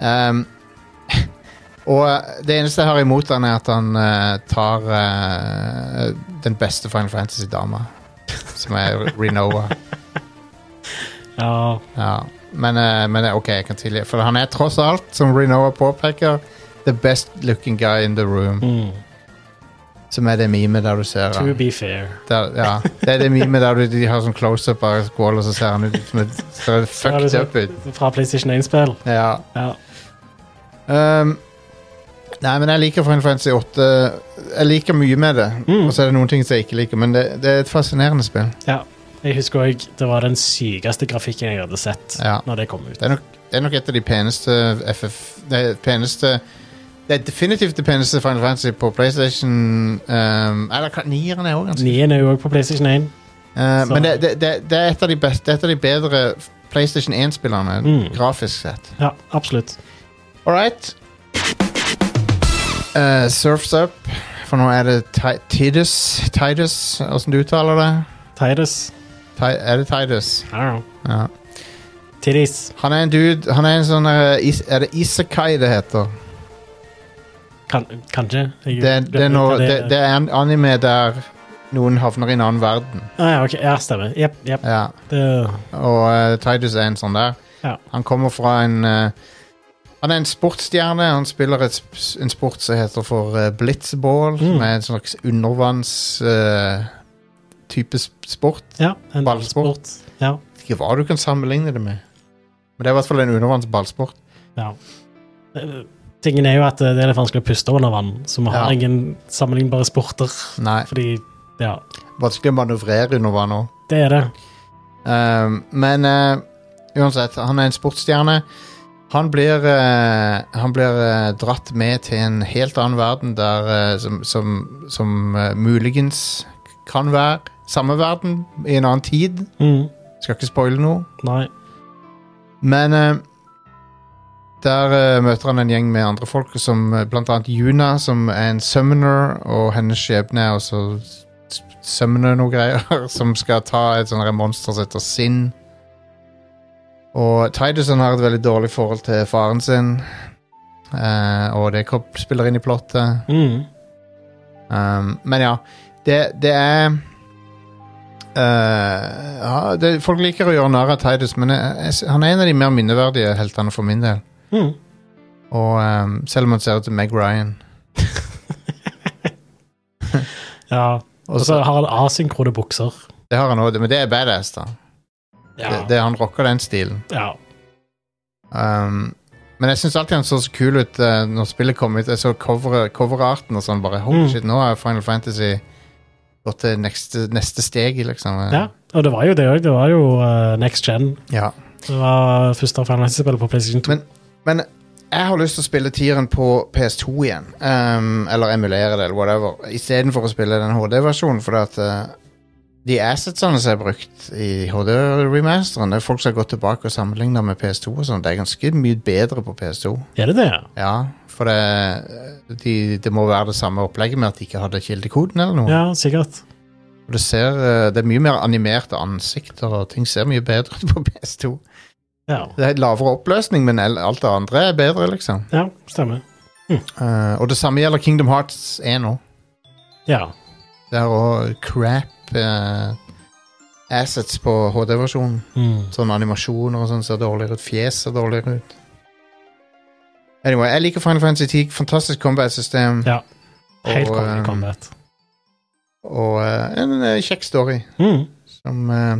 Speaker 3: Ehm, og det eneste jeg har imot han, er at han eh, tar eh, den beste Final Fantasy-dama, som er Renova.
Speaker 4: Ja.
Speaker 3: Ja. Men, eh, men det er ok, jeg kan tilgi. For han er tross alt, som Renova påpeker, the best looking guy in the room.
Speaker 4: Mm.
Speaker 3: Som er det memet der du ser
Speaker 4: To
Speaker 3: han.
Speaker 4: be fair.
Speaker 3: Der, ja. Det er det memet der du, de har sånn close-up av skål, og så ser han ut som et ser
Speaker 4: det
Speaker 3: fucked
Speaker 4: ser-
Speaker 3: up ut.
Speaker 4: Fra PlayStation 1-spill.
Speaker 3: Ja.
Speaker 4: Ja.
Speaker 3: Ehm, nei, men jeg liker Final Fantasy 8. Jeg liker mye med det.
Speaker 4: Mm.
Speaker 3: Og så er det noen ting som jeg ikke liker, men det, det er et fascinerende spill.
Speaker 4: ja. Jeg husker òg det var den sykeste grafikken jeg hadde sett
Speaker 3: Ja.
Speaker 4: når det kom ut.
Speaker 3: Det er nok, det er nok et av de peneste FF... Det er, peneste, det er definitivt det peneste Final Fantasy på PlayStation. ehm, eller kan- nieren er òg ganske
Speaker 4: Nien er jo òg på PlayStation 1.
Speaker 3: Eh,
Speaker 4: Så-
Speaker 3: Men det, det, det, det er et av de beste Det er et av de bedre PlayStation 1-spillerne,
Speaker 4: Mm.
Speaker 3: grafisk sett.
Speaker 4: Ja, absolutt.
Speaker 3: All right. Eh, surfs up. For nå er det Ti- Tidus Tidus, åssen du uttaler det?
Speaker 4: Titus.
Speaker 3: Ti- Er det Tidus?
Speaker 4: I don't know.
Speaker 3: Ja.
Speaker 4: Titties.
Speaker 3: Han er en dude Han er en sånn eh, is, Er det Isekai det heter?
Speaker 4: Kan, kanskje. Jeg
Speaker 3: Det,
Speaker 4: vet
Speaker 3: det, er
Speaker 4: ikke
Speaker 3: noe,
Speaker 4: hva
Speaker 3: det, det er en anime der noen havner i en annen verden.
Speaker 4: Ah, ja, ok. ja, stemmer. Jepp. Yep.
Speaker 3: Ja.
Speaker 4: Det-
Speaker 3: Og eh, Tidus er en sånn der.
Speaker 4: Ja.
Speaker 3: Han kommer fra en eh, Han er en sportsstjerne. Han spiller et, sp- en sport som heter for eh, blitzball,
Speaker 4: Mm.
Speaker 3: som er en slags undervanns eh, type sp- sport.
Speaker 4: Ja, en
Speaker 3: Ballsport.
Speaker 4: ballsport. Ja.
Speaker 3: Vet Ikke hva du kan sammenligne det med. Men det er i hvert fall en undervannsballsport.
Speaker 4: Eh, Tingen er jo at eh, det er litt vanskelig å puste under vann, så vi har
Speaker 3: Ja.
Speaker 4: ingen sammenlignbare sporter.
Speaker 3: Nei,
Speaker 4: Fordi, ja,
Speaker 3: vanskelig å manøvrere under vann òg.
Speaker 4: det er det.
Speaker 3: Um, men eh, uansett, han er en sportsstjerne. Han blir, eh, han blir eh, dratt med til en helt annen verden der eh, som, som, som eh, muligens kan være samme verden i en annen tid.
Speaker 4: Mm.
Speaker 3: Skal ikke spoile noe.
Speaker 4: Nei.
Speaker 3: Men eh, der eh, møter han en gjeng med andre folk, som eh, blant annet Juna, som er en summoner, og hennes skjebne er også s- summone noe greier, som skal ta et sånt her monster som heter Sinn. Og Tidusen har et veldig dårlig forhold til faren sin, eh, og det kom- spiller inn i plottet.
Speaker 4: Mm.
Speaker 3: Um, men ja, det, det er eh, ja, det, Folk liker å gjøre narr av Tidus, men jeg, jeg, han er en av de mer minneverdige heltene for min del.
Speaker 4: Mm.
Speaker 3: Og um, selv om han ser ut som Meg Ryan.
Speaker 4: Ja. Og så
Speaker 3: Også,
Speaker 4: har han asynkrone bukser.
Speaker 3: det har han også, men det er badass, da.
Speaker 4: Ja.
Speaker 3: Det, det, han rocker den stilen.
Speaker 4: ja.
Speaker 3: Um, men jeg syns alltid han så så kul ut eh, når spillet kom ut. Jeg så cover- coverarten og sånn. bare, Holy
Speaker 4: Mm.
Speaker 3: shit, nå har Final Fantasy gått til neste, neste steg, liksom.
Speaker 4: Ja, og det var jo det òg. Det var jo eh, next gen.
Speaker 3: ja.
Speaker 4: Det var første Final Fantasy-spillet på PlayStation 2.
Speaker 3: Men- Men jeg har lyst til å spille tieren på PS2 igjen. ehm, eller emulere det, eller whatever. Istedenfor å spille den HD-versjonen. Fordi at eh, de assetsene som er brukt i HD-remasteren, det er folk som har gått tilbake og sammenligna med PS2. og sånn. Det er ganske mye bedre på PS2.
Speaker 4: er det det?
Speaker 3: Ja, for det, de, det må være det samme opplegget med at de ikke hadde kildekoden eller noe.
Speaker 4: Ja, sikkert.
Speaker 3: Og Det, ser, eh, det er mye mer animerte ansikter, og ting ser mye bedre ut på PS2.
Speaker 4: Ja,
Speaker 3: Det er lavere oppløsning, men el- alt det andre er bedre, liksom.
Speaker 4: ja stemmer.
Speaker 3: Eh, og det samme gjelder Kingdom Hearts 1 nå.
Speaker 4: Ja.
Speaker 3: Det er òg crap eh, assets på HD-versjonen.
Speaker 4: Mm.
Speaker 3: Sånn animasjoner og sånn ser dårligere ut. Fjes ser dårligere ut. Anyway, jeg liker Final Fantasy 10. Fantastisk combat-system.
Speaker 4: Ja. Helt
Speaker 3: Og,
Speaker 4: kongelig
Speaker 3: eh,
Speaker 4: combat.
Speaker 3: Og eh, en eh, kjekk story
Speaker 4: Mm.
Speaker 3: som eh,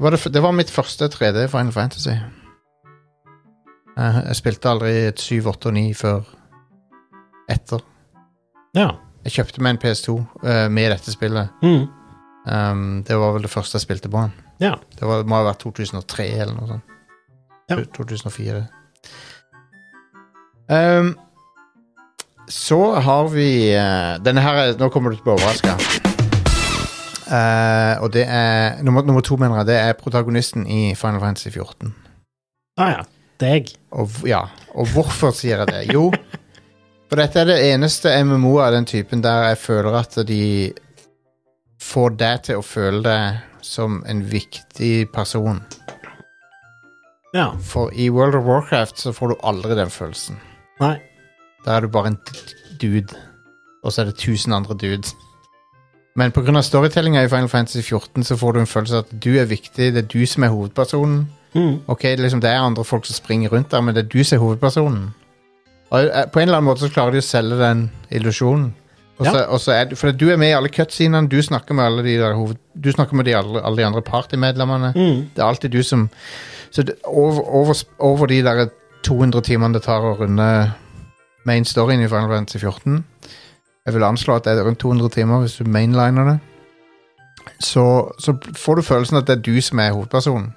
Speaker 3: var det, f- det var mitt første 3D Final Fantasy. Eh, jeg spilte aldri et 7, 8 og 9 før etter.
Speaker 4: Ja.
Speaker 3: Jeg kjøpte meg en PS2 eh, med dette spillet.
Speaker 4: Mm.
Speaker 3: Um, det var vel det første jeg spilte på han.
Speaker 4: Ja.
Speaker 3: Det var, må ha vært 2003 eller noe sånt.
Speaker 4: Ja.
Speaker 3: To- 2004. Um, så har vi eh, Denne her er, Nå kommer du til å bli overraska. og det er nummer, nummer to, mener jeg. Det er protagonisten i Final Fantasy 14.
Speaker 4: Ah, ja. Deg.
Speaker 3: Og, v- ja, og hvorfor sier jeg det? Jo, for dette er det eneste MMO av den typen der jeg føler at de får deg til å føle deg som en viktig person.
Speaker 4: Ja.
Speaker 3: For i World of Warcraft så får du aldri den følelsen.
Speaker 4: Nei.
Speaker 3: Da er du bare en d- dude, og så er det tusen andre dudes. Men pga. storytellinga i Final Fantasy 14 så får du en følelse av at du er viktig, det er du som er hovedpersonen.
Speaker 4: Mm.
Speaker 3: Ok, liksom det er andre folk som springer rundt der, men det er du som er hovedpersonen. Og eh, på en eller annen måte så klarer de å selge den illusjonen. Og så- og så er du- For du er med i alle cutscenene, du snakker med alle de, der hoved, du snakker med de, alle, alle de andre partymedlemmene.
Speaker 4: Mm.
Speaker 3: Det er alltid du som Så det, over, over, over de der 200 timene det tar å runde main storyen i Final Fantasy 14 Jeg vil anslå at det er rundt 200 timer hvis du mainliner det. Så, så får du følelsen at det er du som er hovedpersonen.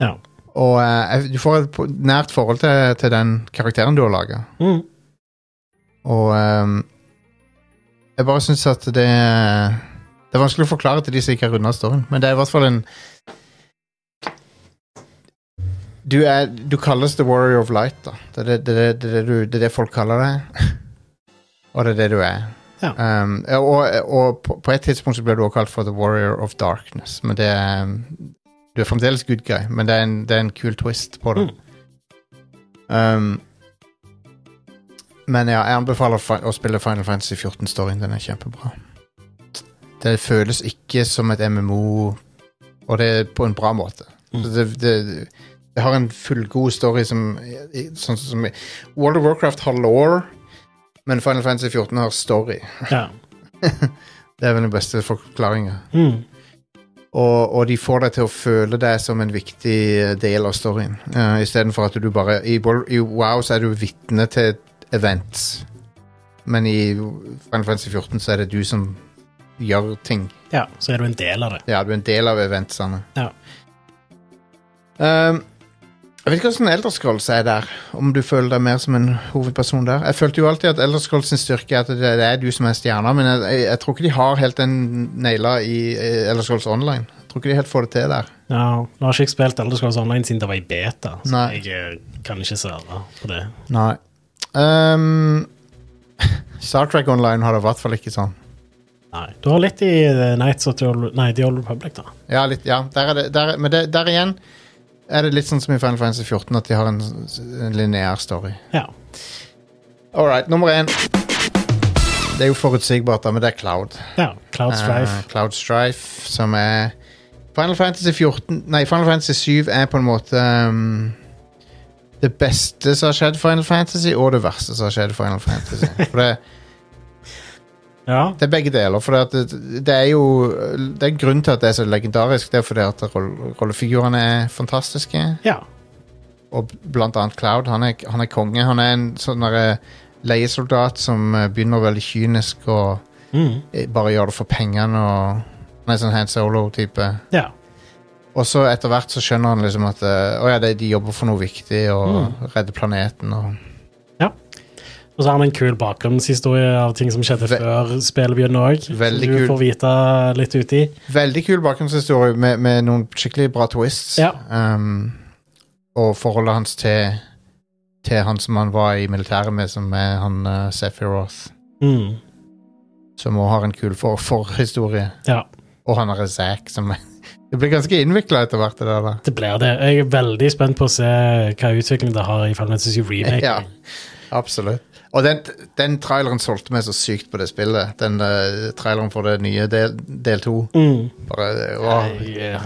Speaker 4: Ja.
Speaker 3: Og eh, du får et po- nært forhold til, til den karakteren du har laga.
Speaker 4: Mm.
Speaker 3: Og ehm, jeg bare syns at det Det er vanskelig å forklare til de som ikke har runda storyen, men det er i hvert fall en du, er, du kalles The Warrior of Light, da. Det er det, det, er det, det, er det, du, det, er det folk kaller deg. og det er det du er.
Speaker 4: Ja.
Speaker 3: Ehm, og og på, på et tidspunkt så ble du også kalt for The Warrior of Darkness, men det er Du er fremdeles good guy, men det er en, det er en kul twist på det. Ehm, men ja, jeg anbefaler fi- å spille Final Fantasy 14 Storyen. Den er kjempebra. Det føles ikke som et MMO, og det er på en bra måte.
Speaker 4: Mm.
Speaker 3: Så Det, det, det har en fullgod story som, i- sånn som World of Warcraft har law, men Final Fantasy 14 har story.
Speaker 4: Ja.
Speaker 3: Det er vel den beste forklaringa.
Speaker 4: Mm.
Speaker 3: Og, og de får deg til å føle deg som en viktig eh, del av storyen. Uh, Istedenfor at du bare i, Wor- I Wow så er du vitne til et event. Men i Final Fantasy 14 så er det du som gjør ting.
Speaker 4: ja. Så er du en del av det.
Speaker 3: Ja, du er en del av eventsene.
Speaker 4: Ja.
Speaker 3: Um, jeg vet ikke hvordan Elderscrolls er der, om du føler deg mer som en hovedperson der. Jeg følte jo alltid at Elderscrolls sin styrke er at det, det er du som er stjerna, men jeg, jeg, jeg tror ikke de har helt den naila i eh, Elderscrolls online. Jeg tror ikke de helt får det til der.
Speaker 4: Ja, Nå har ikke jeg spilt Elder Scrolls Online siden det var i beta, så
Speaker 3: Nei.
Speaker 4: jeg eh, kan ikke svare på det.
Speaker 3: Nei. Um, Star Trek Online har det i hvert fall ikke sånn.
Speaker 4: Nei. Du har litt i eh, Knights of the Old, nei, the Old Republic, da.
Speaker 3: Ja, litt, ja der er det, der, men det, der igjen er det litt sånn som i Final Fantasy 14, at de har en, en lineær story.
Speaker 4: Ja.
Speaker 3: All right, nummer én. Det er jo forutsigbart, da, men det er Cloud.
Speaker 4: ja. Cloud Strife.
Speaker 3: Eh, Cloud Strife, som er Final Fantasy 14 Nei, Final Fantasy 7 er på en måte um, det beste som har skjedd Final Fantasy, og det verste som har skjedd Final Fantasy. For det,
Speaker 4: Ja.
Speaker 3: det er begge deler. For det, at det, det er jo Det er grunnen til at det er så legendarisk. Det er fordi at roll- rollefigurene er fantastiske.
Speaker 4: ja.
Speaker 3: og blant annet Cloud. Han er, han er konge. Han er en sånn derre leiesoldat som eh, begynner veldig kynisk og
Speaker 4: Mm.
Speaker 3: eh, bare gjør det for pengene. og Han er sånn hand solo-type.
Speaker 4: Ja.
Speaker 3: Og så etter hvert så skjønner han liksom at eh, å ja, det, de jobber for noe viktig og redder planeten. Og,
Speaker 4: Og så har han en kul bakgrunnshistorie av ting som skjedde
Speaker 3: Ve-
Speaker 4: før spillet begynner òg. Som
Speaker 3: Veldig
Speaker 4: du
Speaker 3: kul.
Speaker 4: får vite litt uti.
Speaker 3: veldig kul bakgrunnshistorie med, med noen skikkelig bra twists.
Speaker 4: Ja.
Speaker 3: Um, og forholdet hans til, til han som han var i militæret med, som er han uh, Sephiroth.
Speaker 4: Mm.
Speaker 3: Som òg har en kul for forhistorie.
Speaker 4: Ja,
Speaker 3: Og han er Zack, som Det blir ganske innvikla etter hvert, det der. da.
Speaker 4: det blir det. Jeg er veldig spent på å se hva utvikling det har i Final Fantasy Remake.
Speaker 3: Ja, absolutt. Og den, den traileren solgte meg så sykt på det spillet. Den eh, traileren for det nye del, del to.
Speaker 4: Mm.
Speaker 3: Bare, eh, åh,
Speaker 4: Jeg,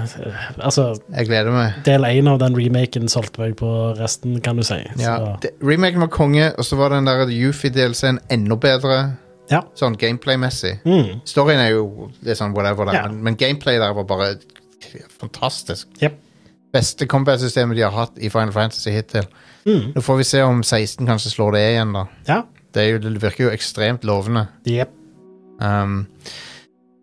Speaker 4: altså,
Speaker 3: jeg gleder meg.
Speaker 4: del én av den remaken solgte meg på resten, kan du si.
Speaker 3: Ja,
Speaker 4: Så,
Speaker 3: det- Remaken var konge, og så var den der Yufi-delscenen enda bedre.
Speaker 4: Ja.
Speaker 3: Sånn gameplay-messig.
Speaker 4: mm.
Speaker 3: Storyen er jo litt sånn whatever, der,
Speaker 4: Ja.
Speaker 3: men, men gameplay der var bare fantastisk.
Speaker 4: Jep.
Speaker 3: Beste combat-systemet de har hatt i Final Fantasy hittil.
Speaker 4: Mm.
Speaker 3: Nå får vi se om 16 kanskje slår det igjen, da.
Speaker 4: Ja.
Speaker 3: Det, er jo, det virker jo ekstremt lovende.
Speaker 4: Jep.
Speaker 3: Um,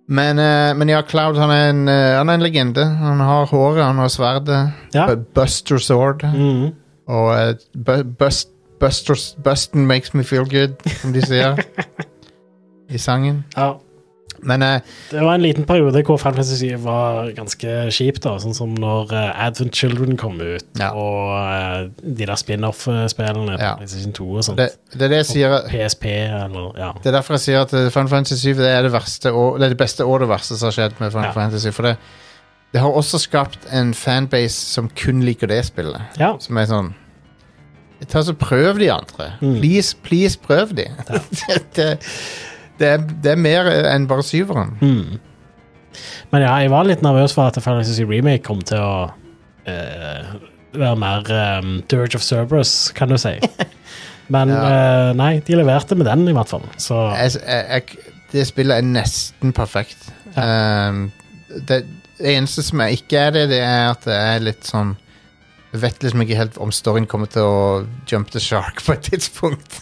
Speaker 3: men, eh, men ja, Cloud han er, en, eh, han er en legende. Han har håret, han har sverdet.
Speaker 4: Ja.
Speaker 3: Bu- Buster sword.
Speaker 4: Mm.
Speaker 3: Og eh, bu bust, Buster's, Bustin makes me feel good, som de sier i sangen.
Speaker 4: ja.
Speaker 3: Men eh,
Speaker 4: Det var en liten periode hvor Final Fantasy var ganske kjipt, da, sånn som når eh, Advent Children kom ut,
Speaker 3: Ja.
Speaker 4: og eh, de der spin-off-spillene,
Speaker 3: Ja.
Speaker 4: PlayStation 2 og sånt,
Speaker 3: det, det er det jeg sier. at-
Speaker 4: PSP eller ja.
Speaker 3: Det er derfor jeg sier at eh, Final Fantasy 7 det er det, verste og, det, er det beste og det verste som har skjedd med Final
Speaker 4: Ja.
Speaker 3: Fantasy. For det, det har også skapt en fanbase som kun liker det spillet.
Speaker 4: ja.
Speaker 3: Som er sånn Ta så Prøv de andre.
Speaker 4: Mm.
Speaker 3: Please, please, prøv de. det, det, det, er, det er mer enn bare syveren.
Speaker 4: Hmm. Men ja, jeg var litt nervøs for at Final Fantasy Remake kom til å eh, være mer um, Dirge of Cerberus, kan du si. Men eh, nei, de leverte med den, i hvert fall. Så
Speaker 3: Jeg, jeg, jeg, det spillet er nesten perfekt. Um, det, det eneste som jeg ikke er det, det er at det er litt sånn Jeg vet liksom ikke helt om storyen kommer til å jump the shark på et tidspunkt.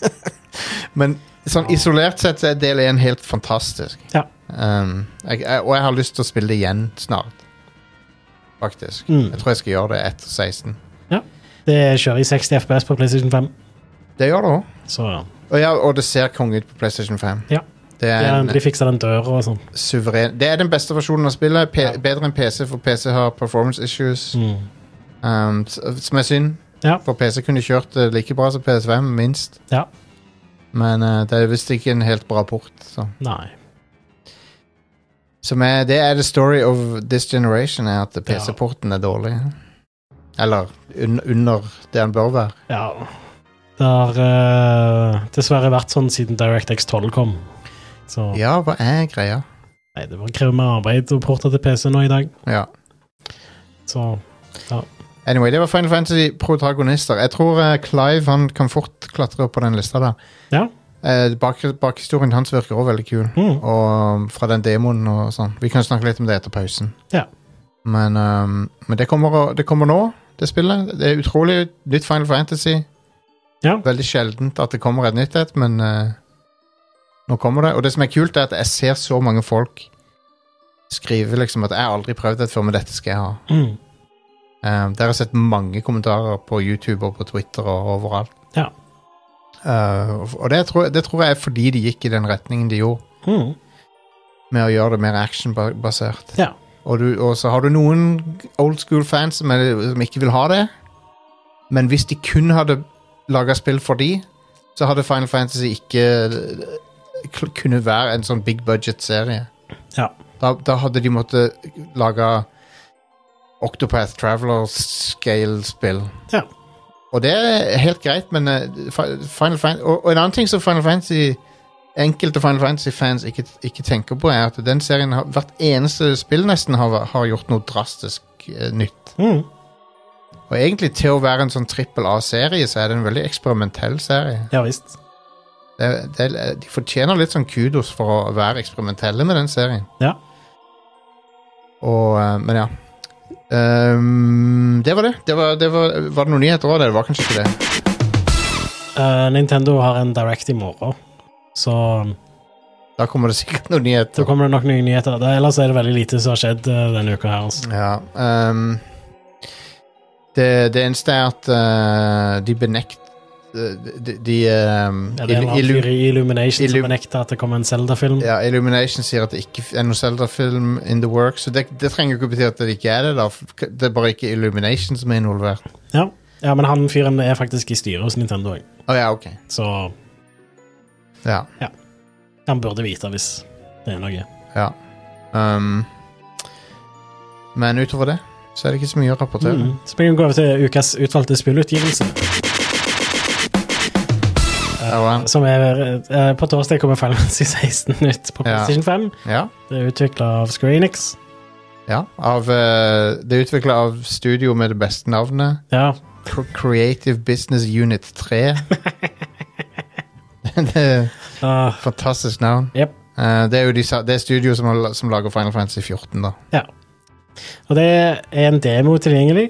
Speaker 3: Men sånn isolert sett så er del én helt fantastisk.
Speaker 4: Ja.
Speaker 3: Um, jeg, jeg, og jeg har lyst til å spille det igjen snart. Faktisk.
Speaker 4: Mm.
Speaker 3: Jeg tror jeg skal gjøre det etter 16.
Speaker 4: det kjører i 60 FPS på PlayStation 5.
Speaker 3: Det gjør det òg.
Speaker 4: Så ja.
Speaker 3: Og, ja, og det ser konge ut på PlayStation 5.
Speaker 4: Ja.
Speaker 3: Det er
Speaker 4: Ja,
Speaker 3: en,
Speaker 4: de fiksa den døra og sånn.
Speaker 3: suveren Det er den beste versjonen av spillet. P
Speaker 4: Ja.
Speaker 3: Bedre enn PC, for PC har performance issues.
Speaker 4: Mm.
Speaker 3: Um, s- som er synd,
Speaker 4: Ja.
Speaker 3: for PC kunne kjørt det like bra som PS5, minst.
Speaker 4: Ja.
Speaker 3: Men eh, det er visst ikke en helt bra port. Så.
Speaker 4: Nei.
Speaker 3: Som er, det er the story of this generation, er at PC-porten er dårlig. Eller un under det den bør være.
Speaker 4: Ja. Det har eh, dessverre vært sånn siden DirectX 12 kom. Så
Speaker 3: Ja, hva er greia?
Speaker 4: nei, det var krever mer arbeid å porte til PC nå i dag.
Speaker 3: Ja.
Speaker 4: Så
Speaker 3: Anyway, det var Final Fantasy-protagonister. Jeg tror eh, Clive han kan fort klatre opp på den lista der.
Speaker 4: Ja.
Speaker 3: Eh, bak, bakhistorien hans virker òg veldig kul.
Speaker 4: mm.
Speaker 3: og um, fra den demoen og sånn. Vi kan snakke litt om det etter pausen.
Speaker 4: Ja.
Speaker 3: Men, ehm, men det, kommer, det kommer nå, det spillet. Det er utrolig nytt Final Fantasy.
Speaker 4: Ja.
Speaker 3: Veldig sjeldent at det kommer et nytt et, men eh, nå kommer det. Og det som er kult, er at jeg ser så mange folk skrive liksom at 'jeg har aldri prøvd dette før, men dette skal jeg ha'.
Speaker 4: Mm.
Speaker 3: Um, der har jeg sett mange kommentarer på YouTube og på Twitter og overalt.
Speaker 4: Ja.
Speaker 3: Uh, og det tror, det tror jeg er fordi de gikk i den retningen de gjorde.
Speaker 4: Mm.
Speaker 3: med å gjøre det mer actionbasert.
Speaker 4: Ja.
Speaker 3: Og, du, og så har du noen old school-fans som, er- som ikke vil ha det. Men hvis de kun hadde laga spill for de, så hadde Final Fantasy ikke eh, kl- kunne være en sånn big budget-serie.
Speaker 4: Ja.
Speaker 3: Da, da hadde de måttet lage Octopath Traveler-scale-spill.
Speaker 4: Ja.
Speaker 3: Og det er helt greit, men eh, Fi- Final Fantasy, og, og en annen ting som Final Fantasy enkelte Final Fantasy-fans ikke, ikke tenker på, er at den serien har, hvert eneste spill nesten har, har gjort noe drastisk eh, nytt.
Speaker 4: Mm.
Speaker 3: Og egentlig til å være en sånn trippel A-serie, så er det en veldig eksperimentell serie.
Speaker 4: Ja visst.
Speaker 3: Det, det, de fortjener litt sånn kudos for å være eksperimentelle med den serien.
Speaker 4: Ja.
Speaker 3: Og, eh, men ja. Ehm, det var det. det, var, det var, var det noen nyheter òg? Det var kanskje ikke det.
Speaker 4: Eh, Nintendo har en Direct i morgen, så
Speaker 3: Da kommer det sikkert noen
Speaker 4: da
Speaker 3: nyheter.
Speaker 4: kommer det nok nye nyheter. Det- Ellers er det veldig lite som har skjedd eh, denne uka her. Altså.
Speaker 3: Ja, ehm, det, det eneste er at eh, de benekt De, de, de ehm,
Speaker 4: Ja, det er en
Speaker 3: illu-
Speaker 4: eller annen fyr i Illumination
Speaker 3: Illu-
Speaker 4: som benekter at det kommer en Zelda-film.
Speaker 3: Ja, Illumination sier at det ikke f- er noen Zelda-film in the work, så det, det trenger jo ikke bety at det ikke er det. da for k- Det er bare ikke Illumination som er involvert.
Speaker 4: Ja. ja, men han fyren er faktisk i styret hos Nintendo òg,
Speaker 3: Å ja, ok.
Speaker 4: så
Speaker 3: Ja.
Speaker 4: han burde vite hvis det er noe.
Speaker 3: ja. Um, men utover det så er det ikke så mye å rapportere.
Speaker 4: Mm. Så vi kan gå over til ukas utvalgte spillutgivelse.
Speaker 3: Der var den.
Speaker 4: Som er eh, På torsdag kommer Final Fantasy 16 ut på
Speaker 3: Ja.
Speaker 4: PlayStation 5.
Speaker 3: Ja.
Speaker 4: Det er utvikla av Screenix.
Speaker 3: ja. Av, eh, det er utvikla av studio med det beste navnet.
Speaker 4: Ja,
Speaker 3: Cr- Creative Business Unit 3. det er et
Speaker 4: ah,
Speaker 3: fantastisk navn.
Speaker 4: Jep.
Speaker 3: Eh, det er jo de, sa- det er studio som, har la- som lager Final Fantasy 14, da.
Speaker 4: Og det er en demo tilgjengelig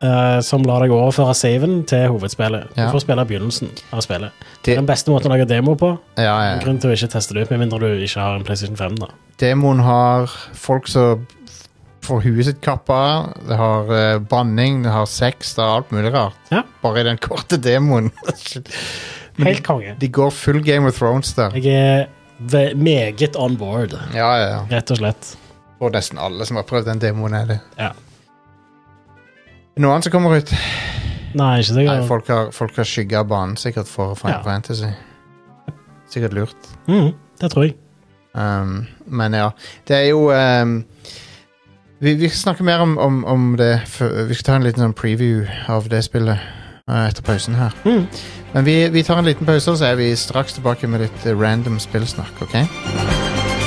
Speaker 4: eh, som lar deg overføre saven til hovedspillet.
Speaker 3: Ja.
Speaker 4: Du får spille begynnelsen av spillet. Det
Speaker 3: Det-
Speaker 4: er den beste måten å lage demo på.
Speaker 3: Ja, ja, ja.
Speaker 4: En Grunn til å ikke teste det ut, med mindre du ikke har en PlayStation 5. da.
Speaker 3: Demoen har folk som f- får huet sitt kappa av. Det har eh, banning, det har sex, det har alt mulig rart.
Speaker 4: Ja.
Speaker 3: Bare i den korte demoen. Shit. Men
Speaker 4: Helt konge.
Speaker 3: de går full Game of Thrones der.
Speaker 4: Jeg er ve- meget on board,
Speaker 3: Ja, ja, ja.
Speaker 4: rett og slett.
Speaker 3: Og nesten alle som har prøvd den demoen, er det.
Speaker 4: Ja.
Speaker 3: Noe annet som kommer ut?
Speaker 4: Nei, ikke
Speaker 3: Nei,
Speaker 4: sikkert.
Speaker 3: folk har, folk har skygga av banen sikkert for Final
Speaker 4: Ja.
Speaker 3: Fantasy. Sikkert lurt.
Speaker 4: Mm, det tror jeg.
Speaker 3: Um, men ja, det er jo um, vi, vi skal snakke mer om, om, om det før- Vi skal ta en liten sånn preview av det spillet uh, etter pausen her.
Speaker 4: Mm.
Speaker 3: Men vi, vi tar en liten pause, og så er vi straks tilbake med litt uh, random spillsnakk. ok?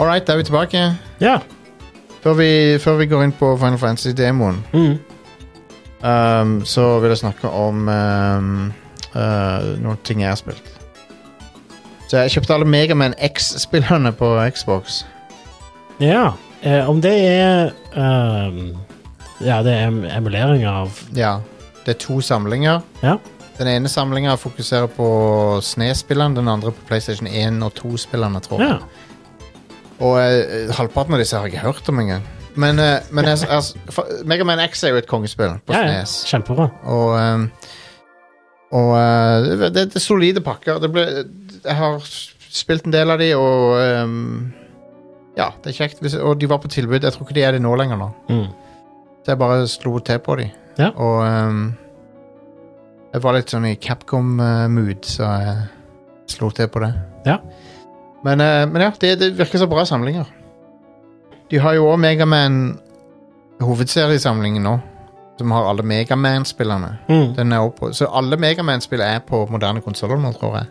Speaker 3: All right, da er vi tilbake.
Speaker 4: Ja.
Speaker 3: Før vi, før vi går inn på Final Fantasy-demoen,
Speaker 4: Mm.
Speaker 3: um, så vil jeg snakke om um, uh, noen ting jeg har spilt. Så jeg kjøpte alle Megaman X-spillerne på Xbox.
Speaker 4: ja. Eh, om det er ehm, Ja, det er em- emulering av
Speaker 3: Ja, det er to samlinger.
Speaker 4: Ja.
Speaker 3: Den ene samlinga fokuserer på SNES-spillene, den andre på PlayStation 1 og 2-spillene, tror jeg.
Speaker 4: Ja.
Speaker 3: Og eh, halvparten av disse har jeg ikke hørt om engang. Men, eh, men jeg, jeg, for- Mega Man X er jo et kongespill på E
Speaker 4: ja, ja.
Speaker 3: SNES.
Speaker 4: Kjempebra.
Speaker 3: Og, eh, og eh, det, det, det er solide pakker. Det ble, jeg har spilt en del av de, og eh, ja, det er kjekt. Hvis- Og de var på tilbud. Jeg tror ikke de er det nå lenger. nå
Speaker 4: Mm.
Speaker 3: så jeg bare slo til på dem.
Speaker 4: Ja.
Speaker 3: Og ehm, jeg var litt sånn i Capcom-mood, så jeg slo til på det.
Speaker 4: Ja.
Speaker 3: Men, eh, men ja, det, det virker så bra samlinger. De har jo òg Megaman hovedseriesamlingen nå, som har alle Megaman-spillerne.
Speaker 4: Mm.
Speaker 3: Den er også på- Så alle Megaman-spill er på moderne konsoller nå, tror jeg.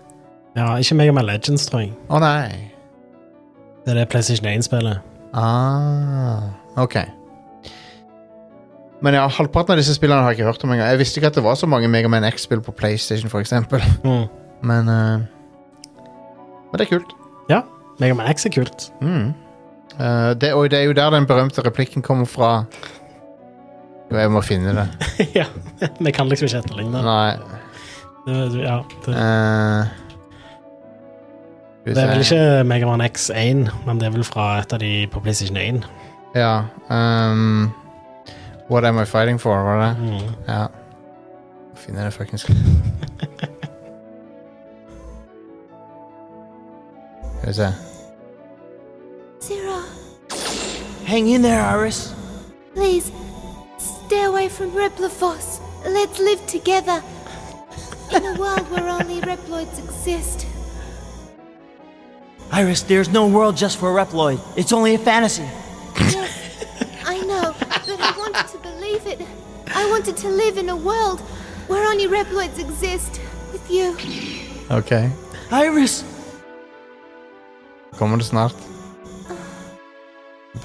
Speaker 4: Ja, ikke meg og meg Legends, tror jeg.
Speaker 3: Å nei!
Speaker 4: Det er det PlayStation 1-spillet.
Speaker 3: Ah, ok. Men ja, halvparten av disse spillene har jeg ikke hørt om engang. Jeg visste ikke at det var så mange Megaman X-spill på PlayStation, for eksempel.
Speaker 4: Mm.
Speaker 3: Men, eh, men det er kult.
Speaker 4: Mega Man X er kult.
Speaker 3: Mm. Eh, det, og det er jo der den berømte replikken kommer fra. Jo, Jeg må finne det.
Speaker 4: ja, vi kan liksom ikke etterligne det.
Speaker 3: Nei
Speaker 4: Det- det- Ja, det,
Speaker 3: eh, skal vi
Speaker 4: det er vel
Speaker 3: se.
Speaker 4: ikke Mega Man X1, men det er vel fra et av de på PlayStation 1.
Speaker 3: Ja. ehm, What am I fighting for, var det?
Speaker 4: Mm.
Speaker 3: Ja. Finner det fuckings Skal vi se.
Speaker 5: Zero,
Speaker 6: Hang in there, Iris.
Speaker 5: please, stay away from Reploforce. Let's live together in a world where only Reploids exist.
Speaker 6: Iris, there's no world just for Reploid. It's only a fantasy.
Speaker 5: No, I know, but I wanted to believe it. I wanted to live in a world where only Reploids exist. With you.
Speaker 3: OK.
Speaker 6: Iris!
Speaker 3: Kommer det snart?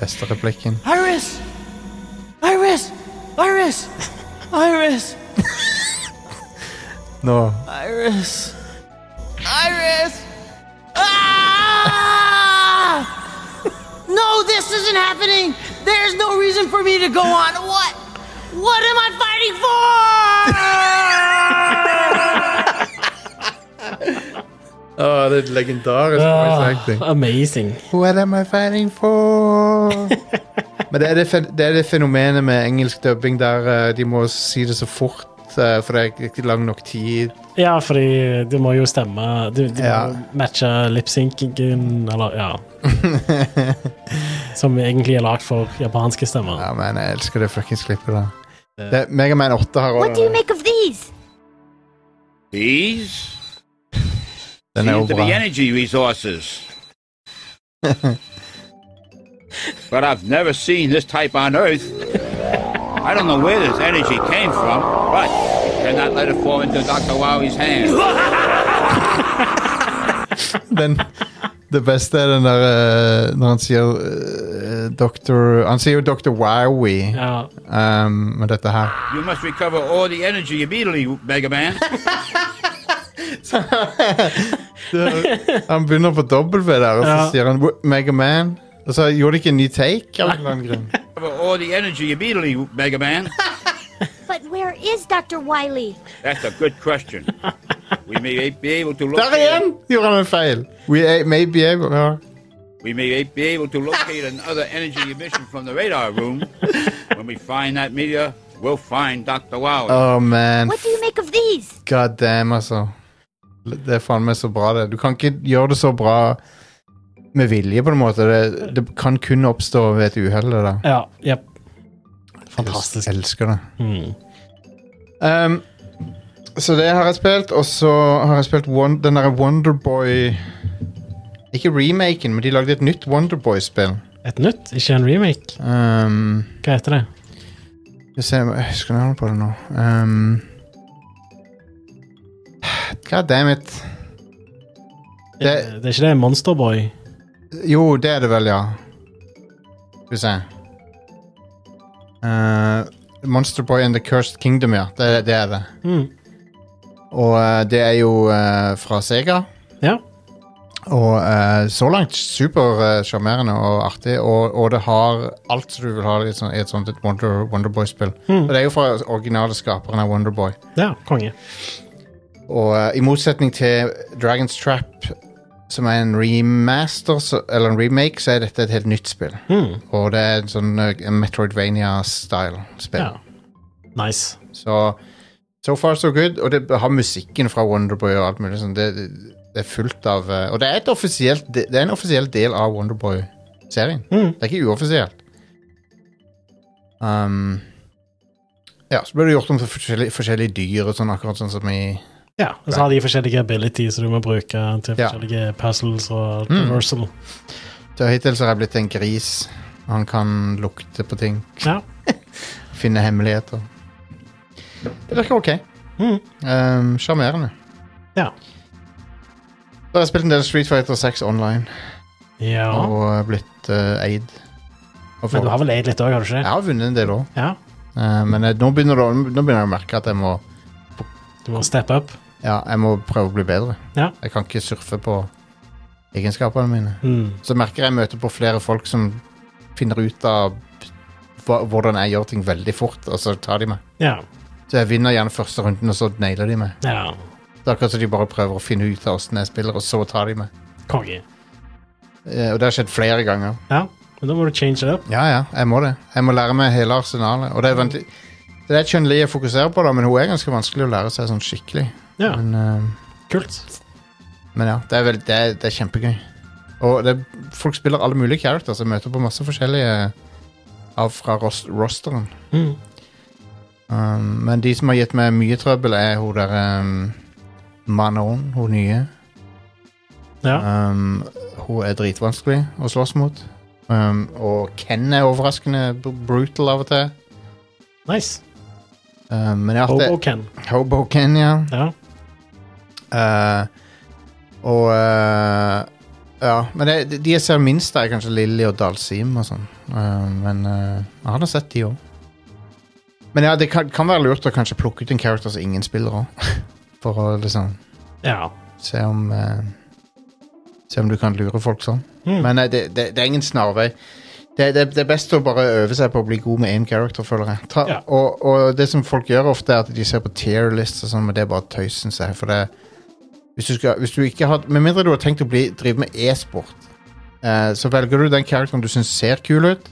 Speaker 3: Beste replikken.
Speaker 6: Iris! Iris! Iris! Iris!
Speaker 3: Nå.
Speaker 6: Iris! Iris! Ah! No, this isn't happening! There's no reason for me to go on. What? What am I fighting for?
Speaker 3: Å, det er legendarisk voice acting.
Speaker 4: Ah, amazing.
Speaker 3: What am I fighting for? Men det er det, fe- det er det fenomenet med engelsk dubbing der eh, de må si det så fort, eh, for det er ikke lang nok tid.
Speaker 4: Ja, fordi du må jo stemme. Du, du
Speaker 3: Ja.
Speaker 4: må matche lipsynkingen, eller ja. Som egentlig er lagd for japanske stemmer.
Speaker 3: Ja, men jeg elsker det fuckings klippet der. Det, Mega Man 8 har
Speaker 5: What do you
Speaker 3: også
Speaker 5: make of these?
Speaker 7: These
Speaker 3: Den er jo
Speaker 7: seem to be
Speaker 3: bra.
Speaker 7: energy resources. but I've never seen this type on Earth. I don't know where this energy came from, but I cannot let it fall into Dr. Wowi's hands.
Speaker 3: Den, det beste er den der eh, Når han sier eh, Dr. Han sier jo Dr. Wowie,
Speaker 4: Ja.
Speaker 3: um, med dette her.
Speaker 7: You must recover all the energy immediately, Mega Man.
Speaker 3: Han begynner på W der, og så
Speaker 4: Ja.
Speaker 3: sier han "Wo- Mega Man. Og så gjorde de ikke en ny take. av en eller annen grunn.
Speaker 7: recover all the energy immediately, Mega Man.
Speaker 5: But where is Dr. Wiley?
Speaker 7: That's a good question. We may be able to
Speaker 3: Der
Speaker 7: locate.
Speaker 3: igjen gjorde han en feil! We a- may be able ja.
Speaker 7: We may be able to locate another energy emission from the radar room. When we find that meteor, we'll find Dr. Wowie.
Speaker 3: Oh man,
Speaker 5: What do you make of these?
Speaker 3: god damn, altså. Det er faen meg så bra, det. Du kan ikke gjøre det så bra med vilje, på en måte. Det, det kan kun oppstå ved et uhell. det der.
Speaker 4: Ja. Jepp. Fantastisk.
Speaker 3: Elsker det.
Speaker 4: Mm.
Speaker 3: Um, så det har jeg spilt, og så har jeg spilt Won- den derre Wonderboy Ikke remaken, men de lagde et nytt Wonderboy-spill.
Speaker 4: Et nytt, ikke en remake.
Speaker 3: Um,
Speaker 4: Hva heter det?
Speaker 3: Skal vi se Jeg husker navnet på det nå. Um, God damn it.
Speaker 4: Det,
Speaker 3: Det-
Speaker 4: er ikke det Monsterboy?
Speaker 3: Jo, det er det vel, ja. Skal vi se Eh, Monster Boy and the Cursed Kingdom, ja. Det, det er det.
Speaker 4: Mm.
Speaker 3: Og eh, det er jo eh, fra Sega.
Speaker 4: Ja.
Speaker 3: Og eh, så langt supersjarmerende og artig, og, og det har alt som du vil ha i et sånt, i et, sånt et Wonder, Wonderboy-spill. Og det er jo fra originale skaperen av Wonderboy.
Speaker 4: Ja, konge.
Speaker 3: Og eh, i motsetning til Dragon's Trap, som er en remaster, så, eller en remake, så er dette et helt nytt spill.
Speaker 4: Mm.
Speaker 3: Og det er en sånn eh, en Metroidvania-style spill.
Speaker 4: Ja. Nice.
Speaker 3: Så so far so good. Og det har musikken fra Wonderboy og alt mulig sånn. Det, det- det er fullt av eh, Og det er, et offisielt, det er en offisiell del av Wonderboy-serien.
Speaker 4: Mm.
Speaker 3: Det er ikke uoffisielt. Um, ja, så ble det gjort om til forskjellige, forskjellige dyr og sånn, akkurat sånn som i
Speaker 4: Ja, og så har de forskjellige abilities du må bruke til
Speaker 3: Ja.
Speaker 4: forskjellige puzzles og reversal.
Speaker 3: Så hittil så har jeg blitt en gris. Han kan lukte på ting,
Speaker 4: Ja.
Speaker 3: finne hemmeligheter. Det virker ok.
Speaker 4: Mm.
Speaker 3: Ehm, Sjarmerende.
Speaker 4: Ja.
Speaker 3: så har jeg spilt en del Street Fighter 6 online
Speaker 4: ja.
Speaker 3: og eh, blitt eh, eid. Og
Speaker 4: Men du har
Speaker 3: fått-
Speaker 4: vel eid litt òg, har du ikke
Speaker 3: Jeg
Speaker 4: det?
Speaker 3: har vunnet en del òg,
Speaker 4: Ja.
Speaker 3: men eh, nå, begynner det, å- nå begynner jeg å merke at jeg må,
Speaker 4: Du må steppe opp.
Speaker 3: ja, jeg må prøve å bli bedre.
Speaker 4: Ja.
Speaker 3: Jeg kan ikke surfe på egenskapene mine.
Speaker 4: Mm.
Speaker 3: Så merker jeg jeg møter på flere folk som finner ut av hva, hvordan jeg gjør ting veldig fort, og så tar de meg.
Speaker 4: Ja.
Speaker 3: Så jeg vinner gjerne første runden, og så nailer de meg.
Speaker 4: ja.
Speaker 3: Det er akkurat som de bare prøver å finne ut av åssen jeg spiller, og så tar de meg.
Speaker 4: Konge.
Speaker 3: Eh, og det har skjedd flere ganger.
Speaker 4: Ja. Men da må du change det opp.
Speaker 3: Ja, ja, jeg må det. Jeg må lære meg hele arsenalet. Og det er vent- det er Chun-Li jeg fokuserer på, da, men hun er ganske vanskelig å lære seg sånn skikkelig.
Speaker 4: Ja,
Speaker 3: Men, eh,
Speaker 4: kult.
Speaker 3: men ja, det er, vel, det er, det er kjempegøy. Og det, er- folk spiller alle mulige characters. Jeg møter på masse forskjellige eh, av fra ros rosteren.
Speaker 4: Mm.
Speaker 3: Um, men de som har gitt meg mye trøbbel, er hun der um, Manon, hun nye.
Speaker 4: Ja.
Speaker 3: Um, hun er dritvanskelig å slåss mot. Um, og Ken er overraskende br- brutal av og til.
Speaker 4: Nice.
Speaker 3: Um, men jeg har
Speaker 4: Hobo-Ken.
Speaker 3: Hobo Ken, ja.
Speaker 4: Ja.
Speaker 3: Eh, og eh, Ja, men det, de jeg ser minst, er kanskje Lilly og Dalsim og sånn. Eh, men eh, jeg har da sett de òg. Men ja, det kan, kan være lurt å kanskje plukke ut en character som ingen spiller òg. For å liksom
Speaker 4: ja.
Speaker 3: se om eh, Se om du kan lure folk sånn.
Speaker 4: Mm.
Speaker 3: Men eh, det, det, det er ingen snarvei. Det, det, det er best å bare øve seg på å bli god med én character, føler jeg. Ta,
Speaker 4: Ja.
Speaker 3: og, og det som folk gjør ofte, er at de ser på tier lists og sånn, men det er bare tøys, syns jeg. For det hvis du skal, hvis du ikke har, Med mindre du har tenkt å bli, drive med e-sport, eh, så velger du den characteren du syns ser kul ut,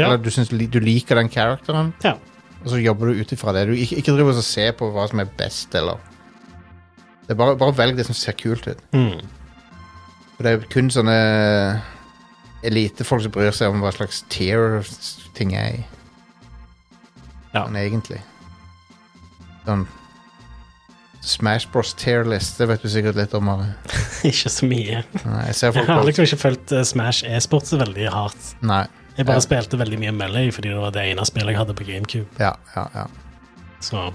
Speaker 4: Ja.
Speaker 3: eller du syns li- du liker den characteren,
Speaker 4: ja.
Speaker 3: og så jobber du ut ifra det. Du ikke, ikke driver og se på hva som er best, eller det er bare, bare velg det som ser kult ut.
Speaker 4: Mm.
Speaker 3: For det er kun sånne elitefolk som bryr seg om hva slags tier ting er i.
Speaker 4: Ja.
Speaker 3: Sånn egentlig. Sånn Smash Bros. tier list, det vet du sikkert litt om. Are.
Speaker 4: ikke så mye.
Speaker 3: Nei, jeg ser
Speaker 4: Jeg
Speaker 3: folk
Speaker 4: har
Speaker 3: på
Speaker 4: liksom ikke fulgt eh, Smash e-sport så veldig hardt.
Speaker 3: Nei.
Speaker 4: Jeg bare
Speaker 3: Ja.
Speaker 4: spilte veldig mye Melee fordi det var det ene spillet jeg hadde på GameCube.
Speaker 3: Ja, ja, ja.
Speaker 4: Så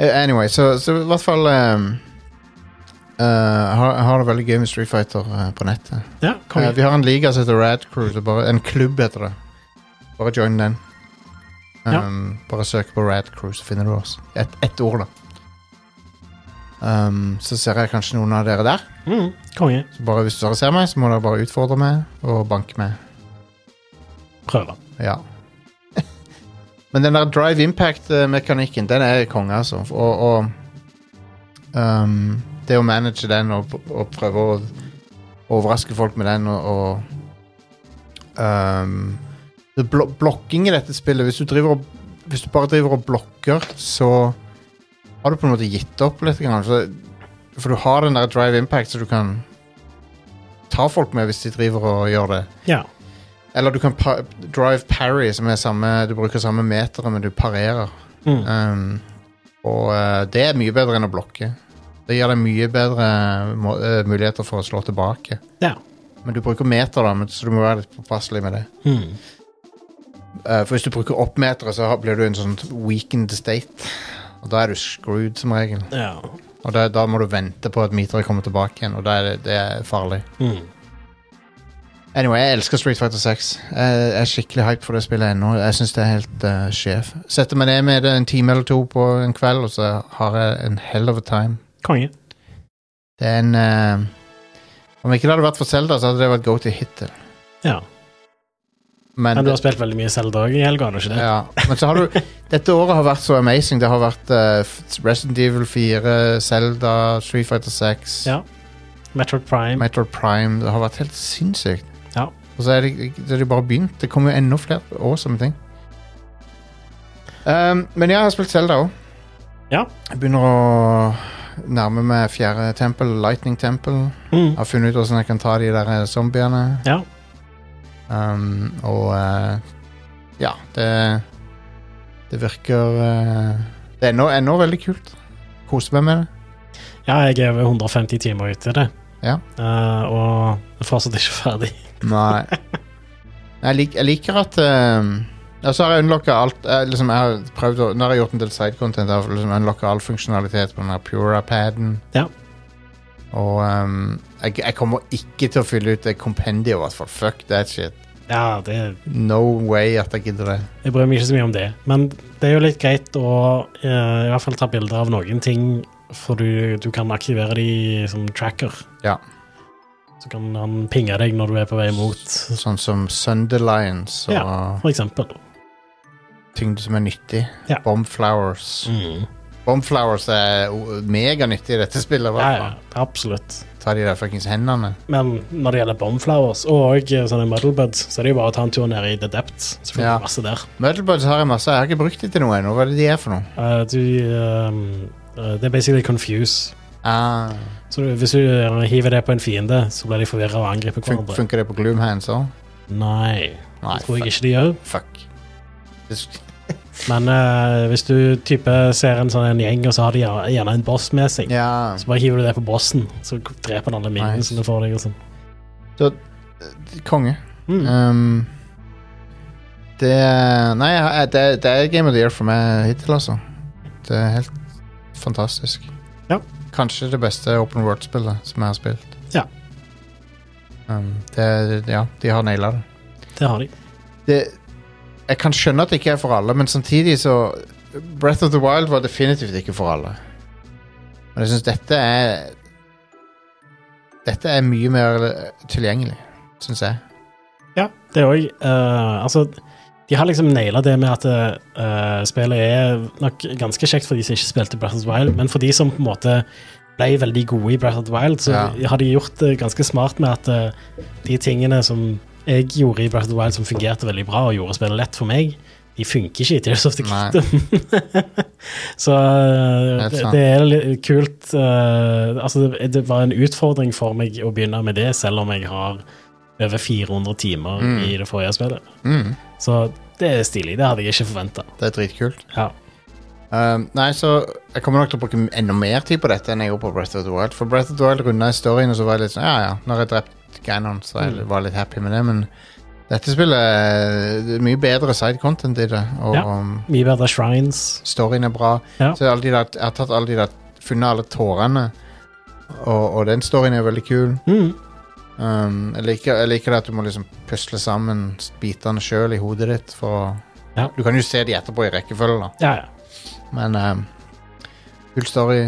Speaker 3: Eh, Anyway, så, så i hvert fall ehm, eh, har, har det veldig gøy med Street Fighter eh, på nettet.
Speaker 4: ja, kom
Speaker 3: Eh, vi
Speaker 4: igjen.
Speaker 3: har en liga som heter Rad Crew. så Bare, en klubb heter det. Bare join den. Um,
Speaker 4: Ja.
Speaker 3: Bare søk på Rad Crew, så finner du oss. Ett ett ord, da. Um, så ser jeg kanskje noen av dere der.
Speaker 4: Mm, konge.
Speaker 3: Så bare Hvis dere ser meg, så må dere bare utfordre meg og banke meg.
Speaker 4: Prøve.
Speaker 3: Ja. Men den der drive impact-mekanikken, den er konge, altså. Og, og um, det å manage den og, og prøve å overraske folk med den og, og um, det blo Blokking i dette spillet Hvis du, driver og, hvis du bare driver og blokker, så har du på en måte gitt opp litt. Grann, for, for du har den der drive impact, så du kan ta folk med hvis de driver og gjør det.
Speaker 4: Ja.
Speaker 3: Eller du kan pa drive parry, som er samme Du bruker samme meter, men du parerer.
Speaker 4: Mm.
Speaker 3: Um, og eh, det er mye bedre enn å blokke. Det gir deg mye bedre må eh, muligheter for å slå tilbake.
Speaker 4: Ja.
Speaker 3: Men du bruker meter, da, men, så du må være litt påpasselig med det.
Speaker 4: Mm.
Speaker 3: Eh, for hvis du bruker opp meteret, så har- blir du i en sånn weakened state. Og da er du screwed, som regel.
Speaker 4: ja.
Speaker 3: Og da, da må du vente på at meteret kommer tilbake igjen, og da er det, det er farlig.
Speaker 4: Mm.
Speaker 3: Anyway, jeg elsker Street Fighter 6. Jeg jeg er skikkelig hype for det spillet ennå. Jeg syns det er helt eh, sjef. Setter meg ned med det en time eller to på en kveld, og så har jeg en hell of a time.
Speaker 4: Konge.
Speaker 3: Det er en eh, Om ikke det hadde vært for Zelda, så hadde det vært go to hittil.
Speaker 4: Ja.
Speaker 3: Men,
Speaker 4: Men du har spilt veldig mye Zelda òg i helga, har du ikke det?
Speaker 3: ja. Men så har du Dette året har vært så amazing. Det har vært eh, f- Resident Evil 4, Zelda, Street Fighter 6,
Speaker 4: Ja. Metroid Prime.
Speaker 3: Metroid Prime. Det har vært helt sinnssykt.
Speaker 4: Ja.
Speaker 3: Og så er det, så er det bare begynt. Det kommer jo enda flere awesome ting. Um, men jeg har spilt Zelda òg.
Speaker 4: Ja.
Speaker 3: Jeg begynner å nærme meg fjerde tempel, Lightning Temple.
Speaker 4: Mm.
Speaker 3: Jeg har funnet ut hvordan jeg kan ta de der eh, zombiene.
Speaker 4: Ja.
Speaker 3: Um, og eh, ja, det Det virker eh, Det er ennå, ennå veldig kult. Koser meg med det.
Speaker 4: ja, jeg er over 150 timer ute i det.
Speaker 3: Ja.
Speaker 4: Eh, og er fortsatt ikke ferdig.
Speaker 3: Nei. Jeg, lik, jeg liker at ehm, Og så har jeg unlocka alt jeg, liksom, jeg har prøvd å, Nå har jeg gjort en del sidecontent. Jeg har liksom unlocka all funksjonalitet på den her Pura-paden.
Speaker 4: Ja.
Speaker 3: Og ehm, jeg, jeg kommer ikke til å fylle ut det kompendiet, i hvert fall. Fuck that shit.
Speaker 4: Ja, det
Speaker 3: No way at jeg gidder det.
Speaker 4: Jeg bryr meg ikke så mye om det, men det er jo litt greit å eh, i hvert fall ta bilder av noen ting, for du, du kan aktivere de som tracker.
Speaker 3: Ja.
Speaker 4: Så kan han pinge deg når du er på vei mot,
Speaker 3: Sånn som Sunderlines og
Speaker 4: for eksempel.
Speaker 3: ting som er nyttig.
Speaker 4: Ja.
Speaker 3: Bombflowers.
Speaker 4: Mm.
Speaker 3: Bombflowers er o- meganyttig i dette spillet. i
Speaker 4: Ja,
Speaker 3: hvert
Speaker 4: ja,
Speaker 3: fall.
Speaker 4: absolutt.
Speaker 3: Ta de der fuckings hendene.
Speaker 4: Men når det gjelder bombflowers og eh, sånne muddlebuds, så er det jo bare å ta en tur ned i The Depths, så finner
Speaker 3: Ja.
Speaker 4: du masse der.
Speaker 3: Muddlebuds har jeg masse. Jeg har ikke brukt de til noe ennå. Hva er det de er for noe?
Speaker 4: Eh, du, eh, eh, det er basically confuse.
Speaker 3: Ah,
Speaker 4: Så du, hvis du eh, hiver det på en fiende, så blir de forvirret og angriper
Speaker 3: fun
Speaker 4: hverandre.
Speaker 3: funker det på Gloomhands òg?
Speaker 4: Nei,
Speaker 3: Nei,
Speaker 4: det tror jeg ikke de gjør.
Speaker 3: fuck. fuck.
Speaker 4: Men eh, hvis du type ser en sånn en gjeng, og så har de gjerne gjerne en boss med seg,
Speaker 3: Ja.
Speaker 4: så bare hiver du det på bossen, så dreper han alle minnene
Speaker 3: Nice.
Speaker 4: som du får deg. og sånn. Mm,
Speaker 3: Så eh, konge. Um, det Nei, jeg- det, det er Game of the Year for meg hittil, altså. Det er helt fantastisk.
Speaker 4: Ja.
Speaker 3: Kanskje det beste open world-spillet som jeg har spilt.
Speaker 4: Ja.
Speaker 3: Um, det, ja, de har naila det.
Speaker 4: Det har de.
Speaker 3: det. Jeg kan skjønne at det ikke er for alle, men samtidig så Breath of the Wild var definitivt ikke for alle. Men jeg syns dette er Dette er mye mer eh, tilgjengelig, syns jeg.
Speaker 4: Ja, det òg. Uh, altså, de har liksom naila det med at eh, spillet er nok ganske kjekt for de som ikke spilte Breath of the Wild, men for de som på en måte ble veldig gode i Breath of the Wild, så
Speaker 3: Ja.
Speaker 4: har de gjort det ganske smart med at eh, de tingene som jeg gjorde i Breath of the Wild som fungerte veldig bra og gjorde spillet lett for meg, de funker ikke i Tears of the
Speaker 3: Nei.
Speaker 4: Kingdom. så eh,
Speaker 3: Helt
Speaker 4: det,
Speaker 3: sant.
Speaker 4: det er litt kult eh, Altså, det, det var en utfordring for meg å begynne med det, selv om jeg har over 400 timer i det forrige spillet.
Speaker 3: Mm,
Speaker 4: Så det er stilig. Det hadde jeg ikke forventa.
Speaker 3: det er dritkult.
Speaker 4: Ja.
Speaker 3: Um, nei, så Jeg kommer nok til å bruke enda mer tid på dette enn jeg gjorde på Breath of the Wild. For Breath of the Wild runda i storyen, og så var jeg litt sånn Ja, ja, når jeg drept Ganon, så jeg var litt happy med det, men dette spillet eh, det er mye bedre side content i det, og
Speaker 4: Ja.
Speaker 3: um,
Speaker 4: Mye bedre shrines.
Speaker 3: storyen er bra.
Speaker 4: Ja.
Speaker 3: Så alle de der, jeg har tatt alle de der funnet alle tårene, og, og den storyen er veldig kul.
Speaker 4: Mm.
Speaker 3: Um, jeg, liker, jeg liker det at du må liksom pusle sammen bitene sjøl i hodet ditt for å
Speaker 4: Ja.
Speaker 3: Du kan jo se de etterpå i rekkefølge, da.
Speaker 4: Ja, ja.
Speaker 3: Men um, kul story.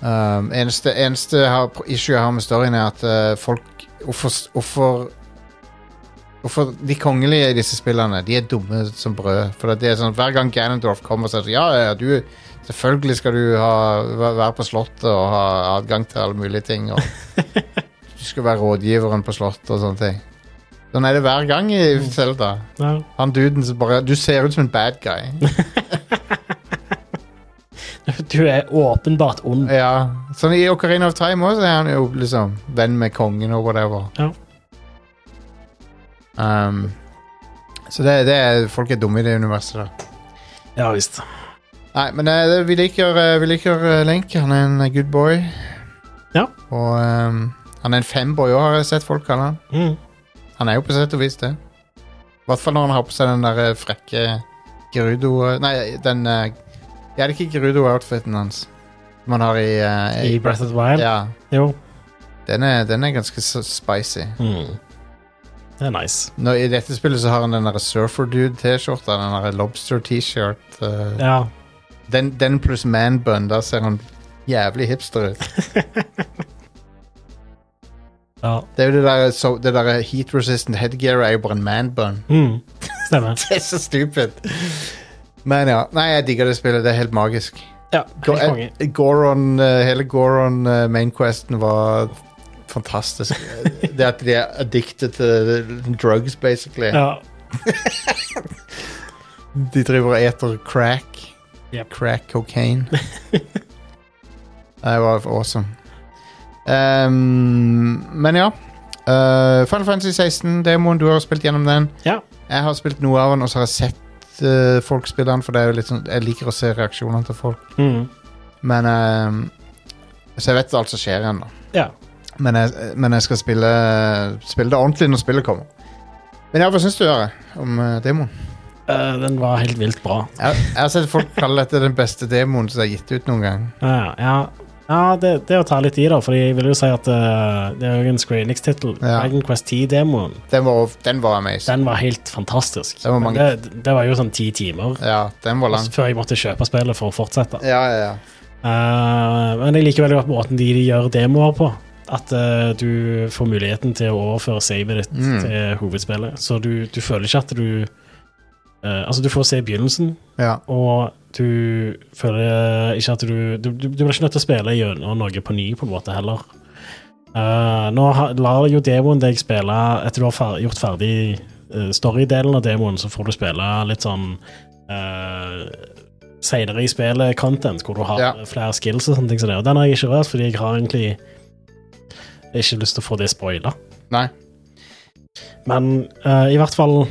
Speaker 3: Um, eneste eneste jeg har, issue jeg har med storyen, er at eh, folk Hvorfor Hvorfor hvorfor de kongelige i disse spillene De er dumme som brød. For det er sånn Hver gang Ganondorf kommer og sier sånn, ja, ja, ja, du Selvfølgelig skal du ha, væ- være på Slottet og ha adgang til alle mulige ting. Og du skal være rådgiveren på Slottet og sånne ting. Sånn er det hver gang i Zelda.
Speaker 4: ja.
Speaker 3: Han duden som bare Du ser ut som en bad guy.
Speaker 4: Du er åpenbart ond.
Speaker 3: Ja, sånn i Ocarina of Time også er han jo liksom venn med kongen og whatever.
Speaker 4: Ja.
Speaker 3: Um, så det, det er, folk er dumme i det universet der.
Speaker 4: Ja visst.
Speaker 3: Nei, men eh, det, vi liker, eh, vi liker eh, Link. Han er en good boy.
Speaker 4: Ja.
Speaker 3: Og um, han er en femboy òg, har jeg sett folk kalle han.
Speaker 4: Mm.
Speaker 3: Han er jo på sett og vis det. I hvert fall når han har på seg den der eh, frekke Gerudo Nei, den eh, Ja, det er ikke Gerudo-outfiten hans. Som han har i, eh,
Speaker 4: I Breath of the Wild.
Speaker 3: Ja.
Speaker 4: Jo.
Speaker 3: Den er, den er ganske s- spicy.
Speaker 4: Mm. Det er nice.
Speaker 3: Nå, I dette spillet så har han den der Surfer Dude-T-skjorta, den der Lobster T-shirt. eh,
Speaker 4: Ja.
Speaker 3: den, den pluss man bun, da ser han jævlig hipster ut.
Speaker 4: ja.
Speaker 3: Det er jo det der, så, det der heat resistant headgear er jo bare en man bun.
Speaker 4: Mm. Stemmer.
Speaker 3: Det er så stupid. Men ja. Nei, jeg digger det spillet. Det er helt magisk.
Speaker 4: Ja,
Speaker 3: Go-
Speaker 4: helt konge.
Speaker 3: eh, Goron, eh, hele Goron eh, mainquesten var fantastisk. det at de er addicted til drugs, basically.
Speaker 4: Ja.
Speaker 3: De driver og eter crack.
Speaker 4: Yep.
Speaker 3: Crack cocaine. det var awesome. Ehm, men ja. Eh, Final Fantasy 16, demoen, du har spilt gjennom den.
Speaker 4: ja.
Speaker 3: Jeg har spilt noe av den, og så har jeg sett eh, folk spille den, for det er jo litt sånn, jeg liker å se reaksjonene til folk.
Speaker 4: Mm.
Speaker 3: Men ehm, Så jeg vet alt som skjer igjen, da.
Speaker 4: Ja.
Speaker 3: Men jeg, men jeg skal spille, spille det ordentlig når spillet kommer. Men ja, hva syns du, Are, om eh, demoen?
Speaker 4: Eh, den var helt vilt bra.
Speaker 3: Jeg, jeg har sett folk kalle dette den beste demoen som er gitt ut noen gang.
Speaker 4: Ja, ja. ja det, det er å ta litt i, da, for jeg vil jo si at eh, det er jo en Square Enix-tittel.
Speaker 3: Ja.
Speaker 4: Dragon Quest 10-demoen
Speaker 3: Den var, den var amazing.
Speaker 4: den var helt fantastisk.
Speaker 3: Den var
Speaker 4: Men
Speaker 3: mange-
Speaker 4: det, det var jo sånn ti timer
Speaker 3: Ja, den var lang.
Speaker 4: før jeg måtte kjøpe spillet for å fortsette.
Speaker 3: Ja, ja, ja.
Speaker 4: Eh, men jeg liker veldig godt måten de gjør demoer på. At eh, du får muligheten til å overføre savet ditt
Speaker 3: Mm.
Speaker 4: til hovedspillet. Så du, du føler ikke at du eh, Altså, du får se begynnelsen,
Speaker 3: ja.
Speaker 4: og du føler eh, ikke at du Du, du, du blir ikke nødt til å spille gjennom noe på ny, på en måte, heller. Eh, nå ha- lar jo demoen deg spille Etter du har fer gjort ferdig eh, storydelen av demoen, så får du spille litt sånn uh, Seinere i spillet content, hvor du har
Speaker 3: Ja.
Speaker 4: flere skills og sånne ting som det. Og den har jeg ikke rørt, fordi jeg har egentlig ikke lyst til å få det spoila.
Speaker 3: Nei.
Speaker 4: Men eh, i hvert fall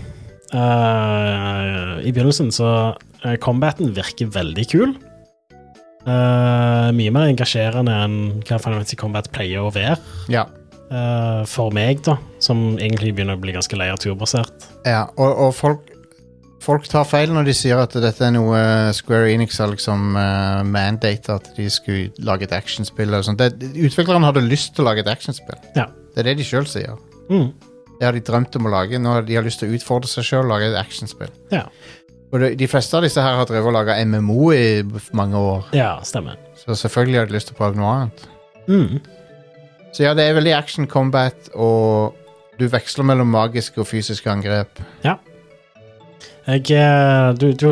Speaker 4: eh, I begynnelsen så eh, Combaten virker veldig kul. Eh, mye mer engasjerende enn hva Final Fantasy Combat pleier å være.
Speaker 3: Ja.
Speaker 4: eh, for meg, da, som egentlig begynner å bli ganske lei av turbasert.
Speaker 3: Ja, og, og folk, folk tar feil når de sier at dette er noe eh, Square Enix har liksom uh, mandata at de skulle lage et actionspill. eller sånt. Det- Utviklerne hadde lyst til å lage et actionspill.
Speaker 4: Ja.
Speaker 3: Det er det de sjøl sier.
Speaker 4: Mm.
Speaker 3: Det har de drømt om å lage. Nå har de har lyst til å utfordre seg sjøl og lage et actionspill.
Speaker 4: Ja.
Speaker 3: Og de, de fleste av disse her har drevet og laga MMO i f- mange år,
Speaker 4: ja, stemmer.
Speaker 3: så selvfølgelig har de lyst til å prøve noe annet.
Speaker 4: Mm.
Speaker 3: Så ja, det er veldig action combat, og du veksler mellom magiske og fysiske angrep.
Speaker 4: Jeg eh, Du, du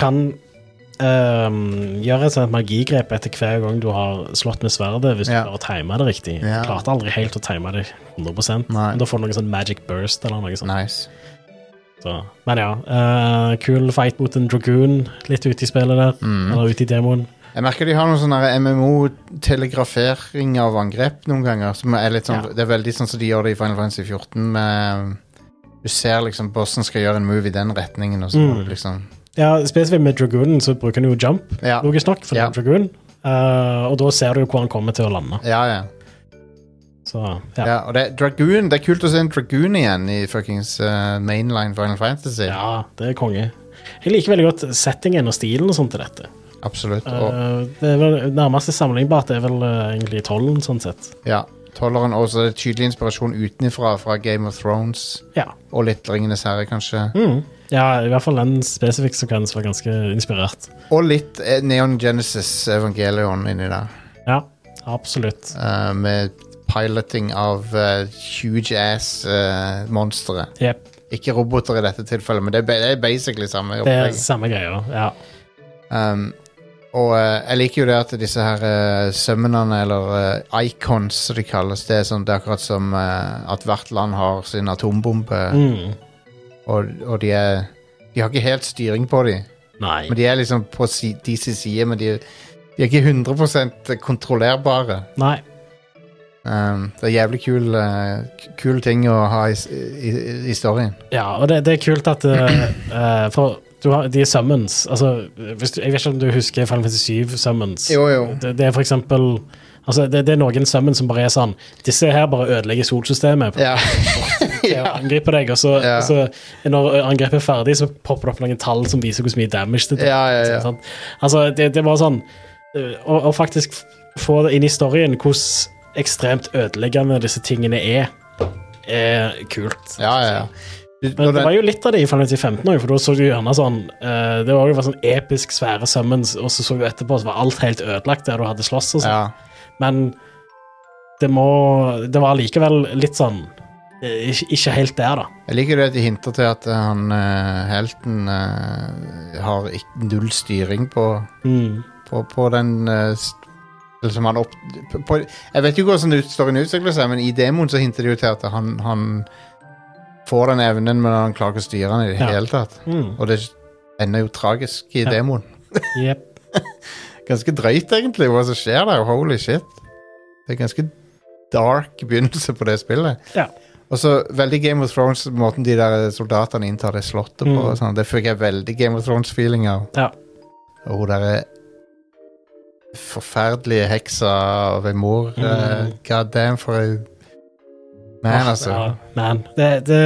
Speaker 4: kan ehm, gjøre et sånt magigrep etter hver gang du har slått med sverdet, hvis
Speaker 3: Ja.
Speaker 4: du klarer å time det riktig.
Speaker 3: Ja.
Speaker 4: Du klarte aldri helt å time det 100
Speaker 3: Nei.
Speaker 4: men Da får du noe sånn magic burst eller noe sånt.
Speaker 3: Nice.
Speaker 4: Så. Men ja, eh, kul fight mot en dragoon litt ute i spillet der,
Speaker 3: Mm.
Speaker 4: eller ute i demoen.
Speaker 3: Jeg merker de har noen sånne MMO-telegrafering av angrep noen ganger. Som er litt sånn,
Speaker 4: Ja.
Speaker 3: Det er veldig sånn som de gjør det i Final Fantasy 14. Med, du ser liksom bossen skal gjøre en move i den retningen, og så må
Speaker 4: Mm.
Speaker 3: du liksom
Speaker 4: Ja, spesifikt med dragoonen så bruker han jo jump,
Speaker 3: Ja,
Speaker 4: logisk nok, for det
Speaker 3: Ja.
Speaker 4: er en dragoon. Eh, og da ser du jo hvor han kommer til å lande.
Speaker 3: ja. ja.
Speaker 4: Så
Speaker 3: ja.
Speaker 4: ja.
Speaker 3: og det, Dragoon, det er kult å se en dragoon igjen i fuckings eh, mainline Final Fantasy.
Speaker 4: ja, det er konge. Jeg liker veldig godt settingen og stilen og sånt til dette.
Speaker 3: Absolutt. Og,
Speaker 4: Eh, det er vel Nærmeste sammenlignbart er vel eh, egentlig tollen, sånn sett.
Speaker 3: ja, Tolleren og så er det tydelig inspirasjon utenfra fra Game of Thrones.
Speaker 4: Ja.
Speaker 3: Og litt Ringenes herre, kanskje.
Speaker 4: Mm. ja, i hvert fall den spesifikke sekvensen var ganske inspirert.
Speaker 3: Og litt eh, Neon Genesis Evangelion inni der.
Speaker 4: Ja, absolutt.
Speaker 3: eh, med piloting av eh, huge ass eh, monstre.
Speaker 4: Jep,
Speaker 3: Ikke roboter i dette tilfellet, men det er, ba- det er basically samme
Speaker 4: det er
Speaker 3: opplegg.
Speaker 4: samme greia. Ja.
Speaker 3: Um, og eh, jeg liker jo det at disse her uh, summonene, eller eh, icons som de kalles, det er, sånn, det er akkurat som eh, at hvert land har sin atombombe,
Speaker 4: Mm.
Speaker 3: og, og de er De har ikke helt styring på dem.
Speaker 4: Nei.
Speaker 3: Men de er liksom på si, de sin side, men de, de er ikke 100 kontrollerbare.
Speaker 4: Nei.
Speaker 3: Um, det er jævlig kul, uh, k- kul ting å ha i, s- i, i storyen.
Speaker 4: Ja, og det, det er kult at eh, eh, For du har, de er summons. Altså, hvis du, jeg vet ikke om du husker Final Fantasy 7 summons.
Speaker 3: Jo, jo.
Speaker 4: Det, det er for eksempel Altså, det, det er noen summons som bare er sånn Disse her bare ødelegger solsystemet.
Speaker 3: Ja.
Speaker 4: ja. angriper deg, og så,
Speaker 3: Ja.
Speaker 4: og så når eh, angrepet er ferdig, så popper det opp noen tall som viser hvor mye damage det er.
Speaker 3: Ja, ja, ja.
Speaker 4: Sant? Altså, det, det var sånn øh, å, å faktisk f- få det inn i storyen hvordan ekstremt ødeleggende disse tingene er, er kult.
Speaker 3: ja, ja, ja. Du-
Speaker 4: Men
Speaker 3: når
Speaker 4: det var
Speaker 3: den-
Speaker 4: jo litt av det i Final Fantasy 15 òg, for da så du gjerne sånn øh, Det var jo bare sånn episk svære summons, og så så du etterpå, så var alt helt ødelagt der du hadde slåss og sånn.
Speaker 3: ja.
Speaker 4: Men det må Det var likevel litt sånn eh, ikke, ikke helt der, da.
Speaker 3: Jeg liker det at de hinter til at eh, han eh, helten eh, har ikk- null styring på,
Speaker 4: Mm.
Speaker 3: på, på den eh, st- eller som han opp, på, på, Jeg vet jo ikke hvordan det ut- storyen utvikler seg, men i demoen så hinter de jo til at han, han får den evnen, men han klarer ikke å styre den i det
Speaker 4: Ja.
Speaker 3: hele tatt. Og det ender jo tragisk i
Speaker 4: Ja.
Speaker 3: demoen.
Speaker 4: Jep.
Speaker 3: Ganske drøyt, egentlig, hva som skjer der. Holy shit. Det er ganske dark begynnelse på det spillet.
Speaker 4: Ja.
Speaker 3: Og så veldig Game of Thrones, måten de der soldatene inntar det slottet på.
Speaker 4: Mm.
Speaker 3: og Sånn. Det fikk jeg veldig Game of Thrones-feeling av.
Speaker 4: Ja.
Speaker 3: Og hun derre forferdelige heksa av ei mor.
Speaker 4: Mm.
Speaker 3: eh, God damn, for ei man, altså.
Speaker 4: Ja, man. Det, det,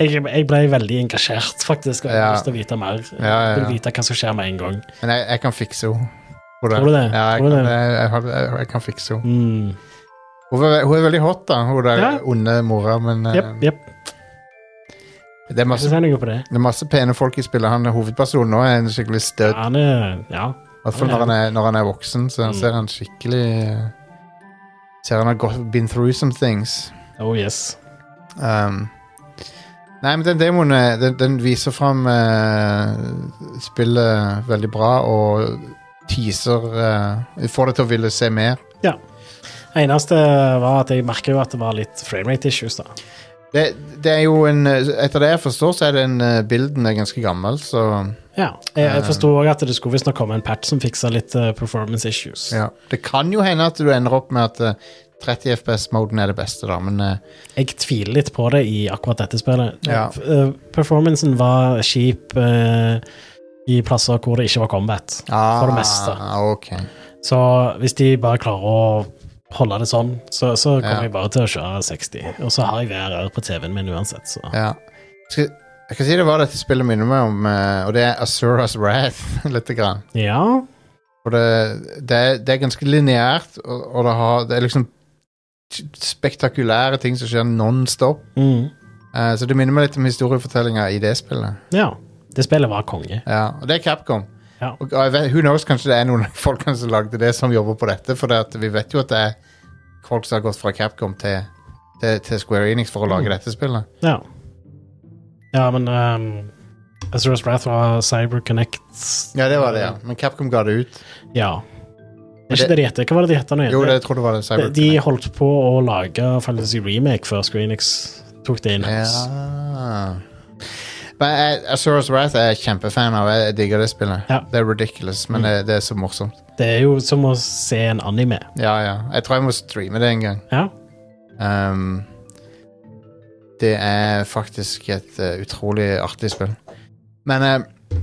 Speaker 4: jeg, jeg ble veldig engasjert, faktisk, og jeg
Speaker 3: Ja.
Speaker 4: har lyst til å vite mer. Jeg
Speaker 3: Ja, ja, ja.
Speaker 4: Vil vite hva som skjer med en gang.
Speaker 3: Men jeg, jeg kan fikse henne. Tror
Speaker 4: Tror du det?
Speaker 3: Ja, jeg,
Speaker 4: Tror du
Speaker 3: kan,
Speaker 4: det?
Speaker 3: jeg, jeg, har- jeg, jeg kan fikse henne.
Speaker 4: Mm.
Speaker 3: Hun er, hun er veldig hot, da, hun der
Speaker 4: Ja.
Speaker 3: onde mora, men eh,
Speaker 4: Jepp, jepp.
Speaker 3: det, er
Speaker 4: Jeg skal
Speaker 3: masse,
Speaker 4: si noe på det.
Speaker 3: det er masse pene folk i spillet. Han er hovedpersonen nå, er en skikkelig
Speaker 4: Ja,
Speaker 3: støt.
Speaker 4: han er Ja.
Speaker 3: I hvert fall når, han er- når han er voksen, så
Speaker 4: Mm.
Speaker 3: ser han skikkelig eh, Ser han har gått, been through some things.
Speaker 4: Oh yes.
Speaker 3: Um, nei, men den demoen eh, den, den viser fram eh, spillet veldig bra og teaser eh, Får deg til å ville se mer.
Speaker 4: Det eneste var at jeg merker jo at det var litt framerate issues, da.
Speaker 3: Det, det er jo en eh, Etter det jeg forstår, så er den eh, bilden er ganske gammel, så
Speaker 4: Ja. Jeg, jeg
Speaker 3: Eh.
Speaker 4: forsto òg at det skulle visstnok komme en patch som fiksa litt eh, performance issues.
Speaker 3: ja. Det kan jo hende at du ender opp med at eh, 30 FPS-moden er det beste, da, men eh,
Speaker 4: Jeg tviler litt på det i akkurat dette spillet.
Speaker 3: Ja.
Speaker 4: F- eh, Performancen var kjip eh, i plasser hvor det ikke var combat.
Speaker 3: ah,
Speaker 4: For det meste.
Speaker 3: Ok.
Speaker 4: Så hvis de bare klarer å holde det sånn, så, så
Speaker 3: Ja.
Speaker 4: kommer jeg bare til å kjøre 60. Og så har jeg VRR på TV-en min uansett, så
Speaker 3: Ja. Skal, jeg kan si det var dette spillet minner meg om, eh, og det er Asuras Wrath, lite grann.
Speaker 4: Ja.
Speaker 3: For det, det, er- det er ganske lineært, og, og det, har, det er liksom spektakulære ting som skjer non-stop.
Speaker 4: Mm.
Speaker 3: Eh, så det minner meg litt om historiefortellinga i det spillet.
Speaker 4: ja. Det spillet var konge.
Speaker 3: Ja, og det er Capcom.
Speaker 4: Ja.
Speaker 3: Og jeg vet, who knows, kanskje det er noen folk som lagde det, som jobber på dette. For det at vi vet jo at det er folk som har gått fra Capcom til, til, til Square Enix for å lage dette spillet.
Speaker 4: Ja. Ja, men um, Azura's Wrath var CyberConnect
Speaker 3: Ja, det var det, ja. Men Capcom ga det ut.
Speaker 4: Ja.
Speaker 3: Men
Speaker 4: Er ikke
Speaker 3: det-
Speaker 4: det de heter? Hva var det de heter nå? igjen?
Speaker 3: Jo, det, jeg tror det var det.
Speaker 4: de,
Speaker 3: Cyber
Speaker 4: de holdt på å lage Final Fantasy Remake før Screenix tok det inn. Ja.
Speaker 3: Ja. Men jeg- Azura's Wrath er jeg kjempefan av. Jeg digger det spillet.
Speaker 4: Ja. Mm.
Speaker 3: Det er ridiculous, men det, det er så morsomt.
Speaker 4: Det er jo som å se en anime.
Speaker 3: Ja, ja. Jeg tror jeg må streame det en gang.
Speaker 4: Ja.
Speaker 3: Um, det er faktisk et eh, utrolig artig spill. Men, eh,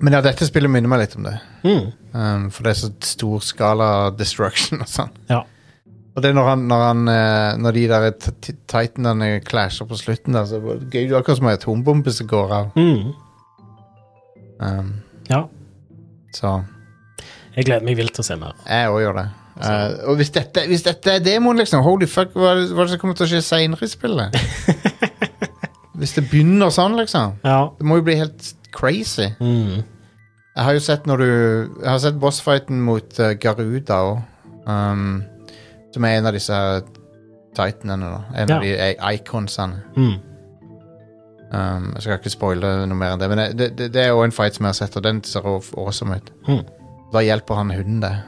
Speaker 3: men ja, dette spillet minner meg litt om det.
Speaker 4: Mm.
Speaker 3: Um, for det er så stor skala destruction og sånn.
Speaker 4: Ja.
Speaker 3: Og det er når, han, når, han, eh, når de der t- t- titanene clasher på slutten der, så er det gøy. Det er akkurat som en atombombe som går av.
Speaker 4: Mm.
Speaker 3: Um,
Speaker 4: Ja.
Speaker 3: Så
Speaker 4: Jeg gleder meg vilt til å se mer.
Speaker 3: jeg òg gjør det. Eh, og hvis dette, hvis dette er demoen, liksom, holy fuck, hva er det, hva er det som kommer til å skje seinere i spillet? hvis det begynner sånn, liksom.
Speaker 4: Ja.
Speaker 3: Det må jo bli helt crazy.
Speaker 4: Mm.
Speaker 3: Jeg har jo sett når du Jeg har sett bossfighten mot eh, Garuda òg. Um, som er en av disse titanene, da. En
Speaker 4: Ja.
Speaker 3: av de i- iconsene.
Speaker 4: Mm.
Speaker 3: Um, jeg skal ikke spoile noe mer enn det, men det, det, det er jo en fight som jeg har sett, og den ser aw- awesome ut.
Speaker 4: Mm.
Speaker 3: Da hjelper han hunden det.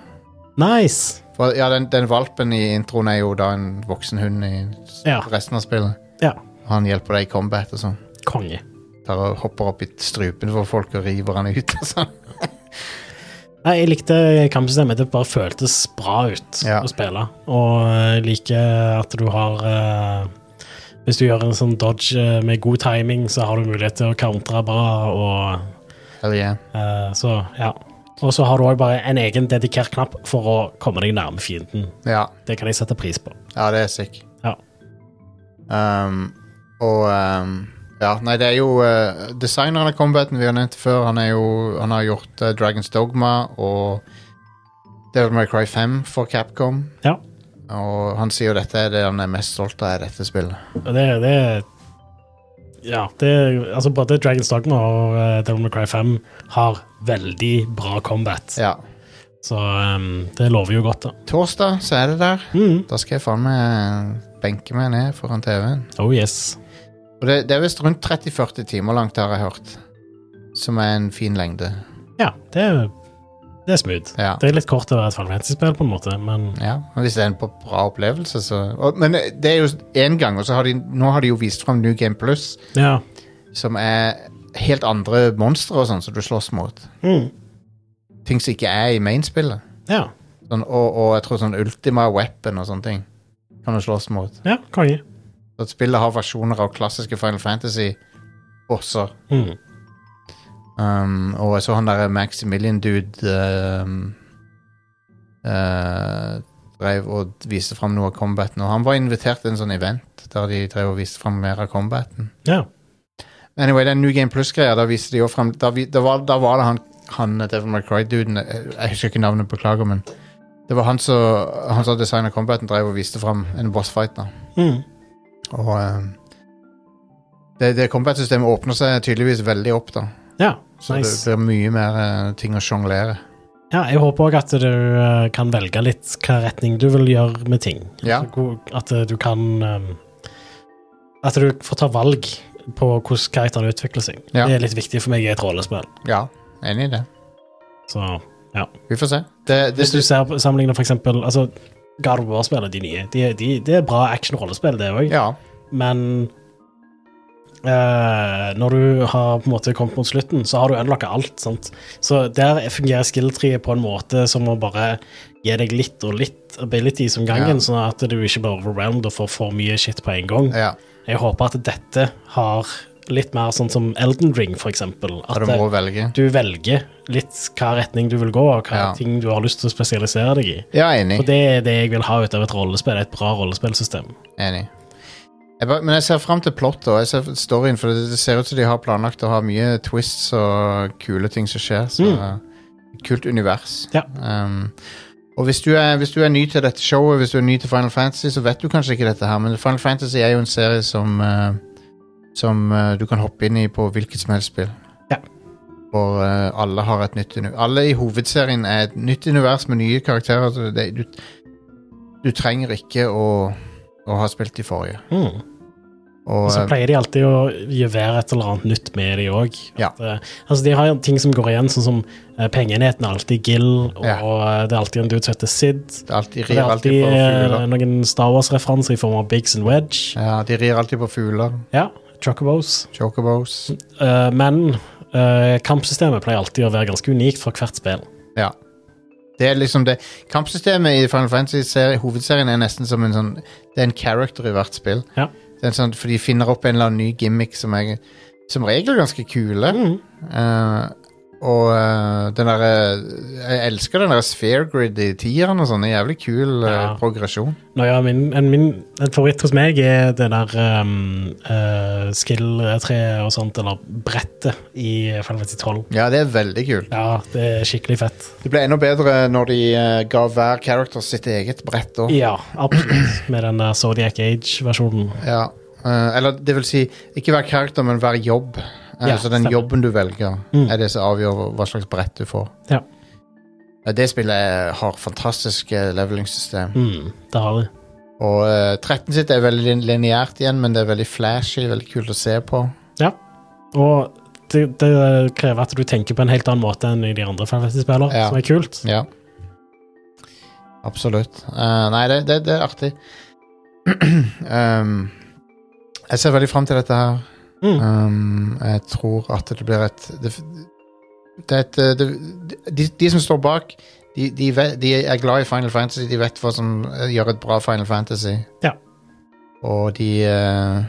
Speaker 4: Nice!
Speaker 3: For, ja, den, den valpen i introen er jo da en voksen hund i s-
Speaker 4: Ja.
Speaker 3: resten av spillet.
Speaker 4: Ja.
Speaker 3: Han hjelper deg i combat og sånn.
Speaker 4: Konge.
Speaker 3: Tar og hopper opp i strupen for folk og river han ut og sånn.
Speaker 4: Nei, jeg likte kampsystemet. Det bare føltes bra ut
Speaker 3: Ja.
Speaker 4: å spille. Og jeg liker at du har eh, Hvis du gjør en sånn dodge eh, med god timing, så har du mulighet til å countre bra. og
Speaker 3: Hell yeah.
Speaker 4: Eh, så ja. Og så har du òg bare en egen dedikert knapp for å komme deg nærme fienden.
Speaker 3: Ja.
Speaker 4: Det kan jeg sette pris på.
Speaker 3: Ja, det er sick.
Speaker 4: Ja.
Speaker 3: Um, og um, Ja, nei, det er jo uh, Designeren av combaten vi har nevnt før, han er jo Han har gjort uh, Dragons Dogma og Devil May Cry 5 for Capcom.
Speaker 4: Ja.
Speaker 3: Og han sier jo dette er det han er mest stolt av i dette spillet.
Speaker 4: Og det, det Ja, det Altså, både Dragon's Dogma og eh, Devil May Cry 5 har veldig bra combat,
Speaker 3: Ja.
Speaker 4: så ehm, det lover jo godt, da.
Speaker 3: Torsdag så er det der.
Speaker 4: Mm.
Speaker 3: Da skal jeg faen meg benke meg ned foran TV-en.
Speaker 4: Oh yes.
Speaker 3: Og det, det er visst rundt 30-40 timer langt, har jeg hørt. Som er en fin lengde.
Speaker 4: Ja, det er, det er smooth.
Speaker 3: Ja.
Speaker 4: Det er litt kort å være et fallenhetsspill, på en måte, men
Speaker 3: Ja, men hvis det er en på- bra opplevelse, så og, Men det er jo én gang, og så har de, nå har de jo vist fram New Game Plus,
Speaker 4: ja.
Speaker 3: som er helt andre monstre og sånn som du slåss mot.
Speaker 4: Mm.
Speaker 3: Ting som ikke er i mainspillet.
Speaker 4: Ja.
Speaker 3: Sånn, og, og jeg tror sånn Ultima Weapon og sånne ting kan du slåss mot.
Speaker 4: ja Konge.
Speaker 3: Så at spillet har versjoner av klassiske Final Fantasy-bosser.
Speaker 4: Mm.
Speaker 3: Um, og jeg så han derre Maximilian-dude um, eh, Drev og viste fram noe av combaten. Og han var invitert til en sånn event der de drev og viste fram mer av combaten.
Speaker 4: Ja.
Speaker 3: Anyway, den New Game Plus-greia, da viste de jo frem Da, vi, da, var, da var det han, han Devil May Cry-duden Jeg jeg husker ikke navnet, beklager, men det var han som han som designa combaten, drev og viste fram en bossfight. da
Speaker 4: Mm.
Speaker 3: Og um, det, det combat-systemet åpner seg tydeligvis veldig opp, da.
Speaker 4: ja.
Speaker 3: Så
Speaker 4: nice.
Speaker 3: det blir mye mer eh, ting å sjonglere.
Speaker 4: Ja, jeg håper òg at du eh, kan velge litt hva retning du vil gjøre med ting.
Speaker 3: Ja.
Speaker 4: Altså, hvor- At eh, du kan ehm, At du får ta valg på hvordan karakteren utvikler seg.
Speaker 3: Ja.
Speaker 4: Det er litt viktig for meg i et rollespill.
Speaker 3: Ja, enig i det.
Speaker 4: Så
Speaker 3: Vi får se. Det, det,
Speaker 4: Hvis du ser, på- sammenligner for eksempel altså, God of War-spillene, de nye, de, de, det er bra action-rollespill, det òg,
Speaker 3: ja,
Speaker 4: men eh, når du har på en måte kommet mot slutten, så har du unlocka alt. sant? Så der fungerer skill-treet på en måte som å bare gi deg litt og litt abilities om gangen,
Speaker 3: Ja.
Speaker 4: sånn at du ikke blir overwhelmed og får for mye shit på en gang.
Speaker 3: ja.
Speaker 4: Jeg håper at dette har litt mer sånn som Elden Ring, for eksempel. At
Speaker 3: Ja, du
Speaker 4: det-
Speaker 3: må velge.
Speaker 4: du velger litt hva retning du vil gå, og hva
Speaker 3: Ja.
Speaker 4: ting du har lyst til å spesialisere deg i.
Speaker 3: Ja,
Speaker 4: Og
Speaker 3: enig.
Speaker 4: det er det jeg vil ha ut av et rollespill, et bra rollespillsystem.
Speaker 3: enig. Jeg bare, men jeg ser fram til plottet og jeg ser storyen, for det det ser ut som de har planlagt å ha mye twists og kule ting som skjer. Så eh, kult univers.
Speaker 4: Mm. Ja.
Speaker 3: Um, og hvis du, er, hvis du er ny til dette showet, hvis du er ny til Final Fantasy, så vet du kanskje ikke dette her, men Final Fantasy er jo en serie som eh, Som eh, du kan hoppe inn i på hvilket som helst spill.
Speaker 4: Ja.
Speaker 3: For eh, alle har et nytt univers. Alle i hovedserien er et nytt univers med nye karakterer. Så det, du, du trenger ikke å, å ha spilt de forrige.
Speaker 4: Mm.
Speaker 3: Og,
Speaker 4: Og
Speaker 3: eh,
Speaker 4: så pleier de alltid å gjøre et eller annet nytt med de òg.
Speaker 3: Ja.
Speaker 4: Altså, de har ting som går igjen, sånn som eh, pengeenheten er alltid Gill, og
Speaker 3: Ja.
Speaker 4: eh, det er alltid en dude som heter Sid.
Speaker 3: alt- de
Speaker 4: Og Det
Speaker 3: rir
Speaker 4: er
Speaker 3: alltid
Speaker 4: alltid
Speaker 3: på
Speaker 4: eh,
Speaker 3: fugler.
Speaker 4: noen Star Wars-referanser i form av Biggs and Wedge.
Speaker 3: Ja, de rir alltid på fugler.
Speaker 4: Ja, Chocobos.
Speaker 3: Chocobos.
Speaker 4: Eh, men eh, kampsystemet pleier alltid å være ganske unikt for hvert spill.
Speaker 3: Ja. Det er liksom det Kampsystemet i Final Fantasy-serien hovedserien er nesten som en sånn Det er en character i hvert spill.
Speaker 4: Ja.
Speaker 3: Det er en sånn, for de finner opp en eller annen ny gimmick som er som regel ganske kule.
Speaker 4: Mm.
Speaker 3: Eh, og eh, den derre Jeg elsker den der sphere grid i tieren og sånn. En jævlig kul eh,
Speaker 4: Ja.
Speaker 3: progresjon.
Speaker 4: Nå, ja, min, en, min en favoritt hos meg er det der um, eh, skill-treet og sånt, eller brettet i Final Fantasy 12.
Speaker 3: Ja, det er veldig kult.
Speaker 4: Ja, det er skikkelig fett.
Speaker 3: Det ble enda bedre når de eh, ga hver character sitt eget brett òg.
Speaker 4: Ja, absolutt. Med den der Zodiac Age-versjonen.
Speaker 3: Ja. eh, eller det vil si, ikke hver karakter, men hver jobb. Eh,
Speaker 4: Ja,
Speaker 3: så den
Speaker 4: stemmer.
Speaker 3: jobben du velger,
Speaker 4: Mm.
Speaker 3: er det som avgjør hva slags brett du får.
Speaker 4: Ja.
Speaker 3: Eh, Det spillet er- har fantastisk eh, levelingssystem.
Speaker 4: Mm, det har de.
Speaker 3: Og eh, 13 sitt er veldig lin- lineært igjen, men det er veldig flashy, veldig kult å se på.
Speaker 4: Ja. Og det, det krever at du tenker på en helt annen måte enn i de andre Final Fantasy-spillene,
Speaker 3: Ja.
Speaker 4: som er kult.
Speaker 3: Ja. Absolutt. Eh, nei, det, det, det er artig. um, jeg ser veldig fram til dette her.
Speaker 4: Mm.
Speaker 3: Um, jeg tror at det blir et det, det, er et, eh, det, de, de som står bak, de, de, vet, de er glad i Final Fantasy. De vet hva som eh, gjør et bra Final Fantasy.
Speaker 4: Ja.
Speaker 3: Og de eh,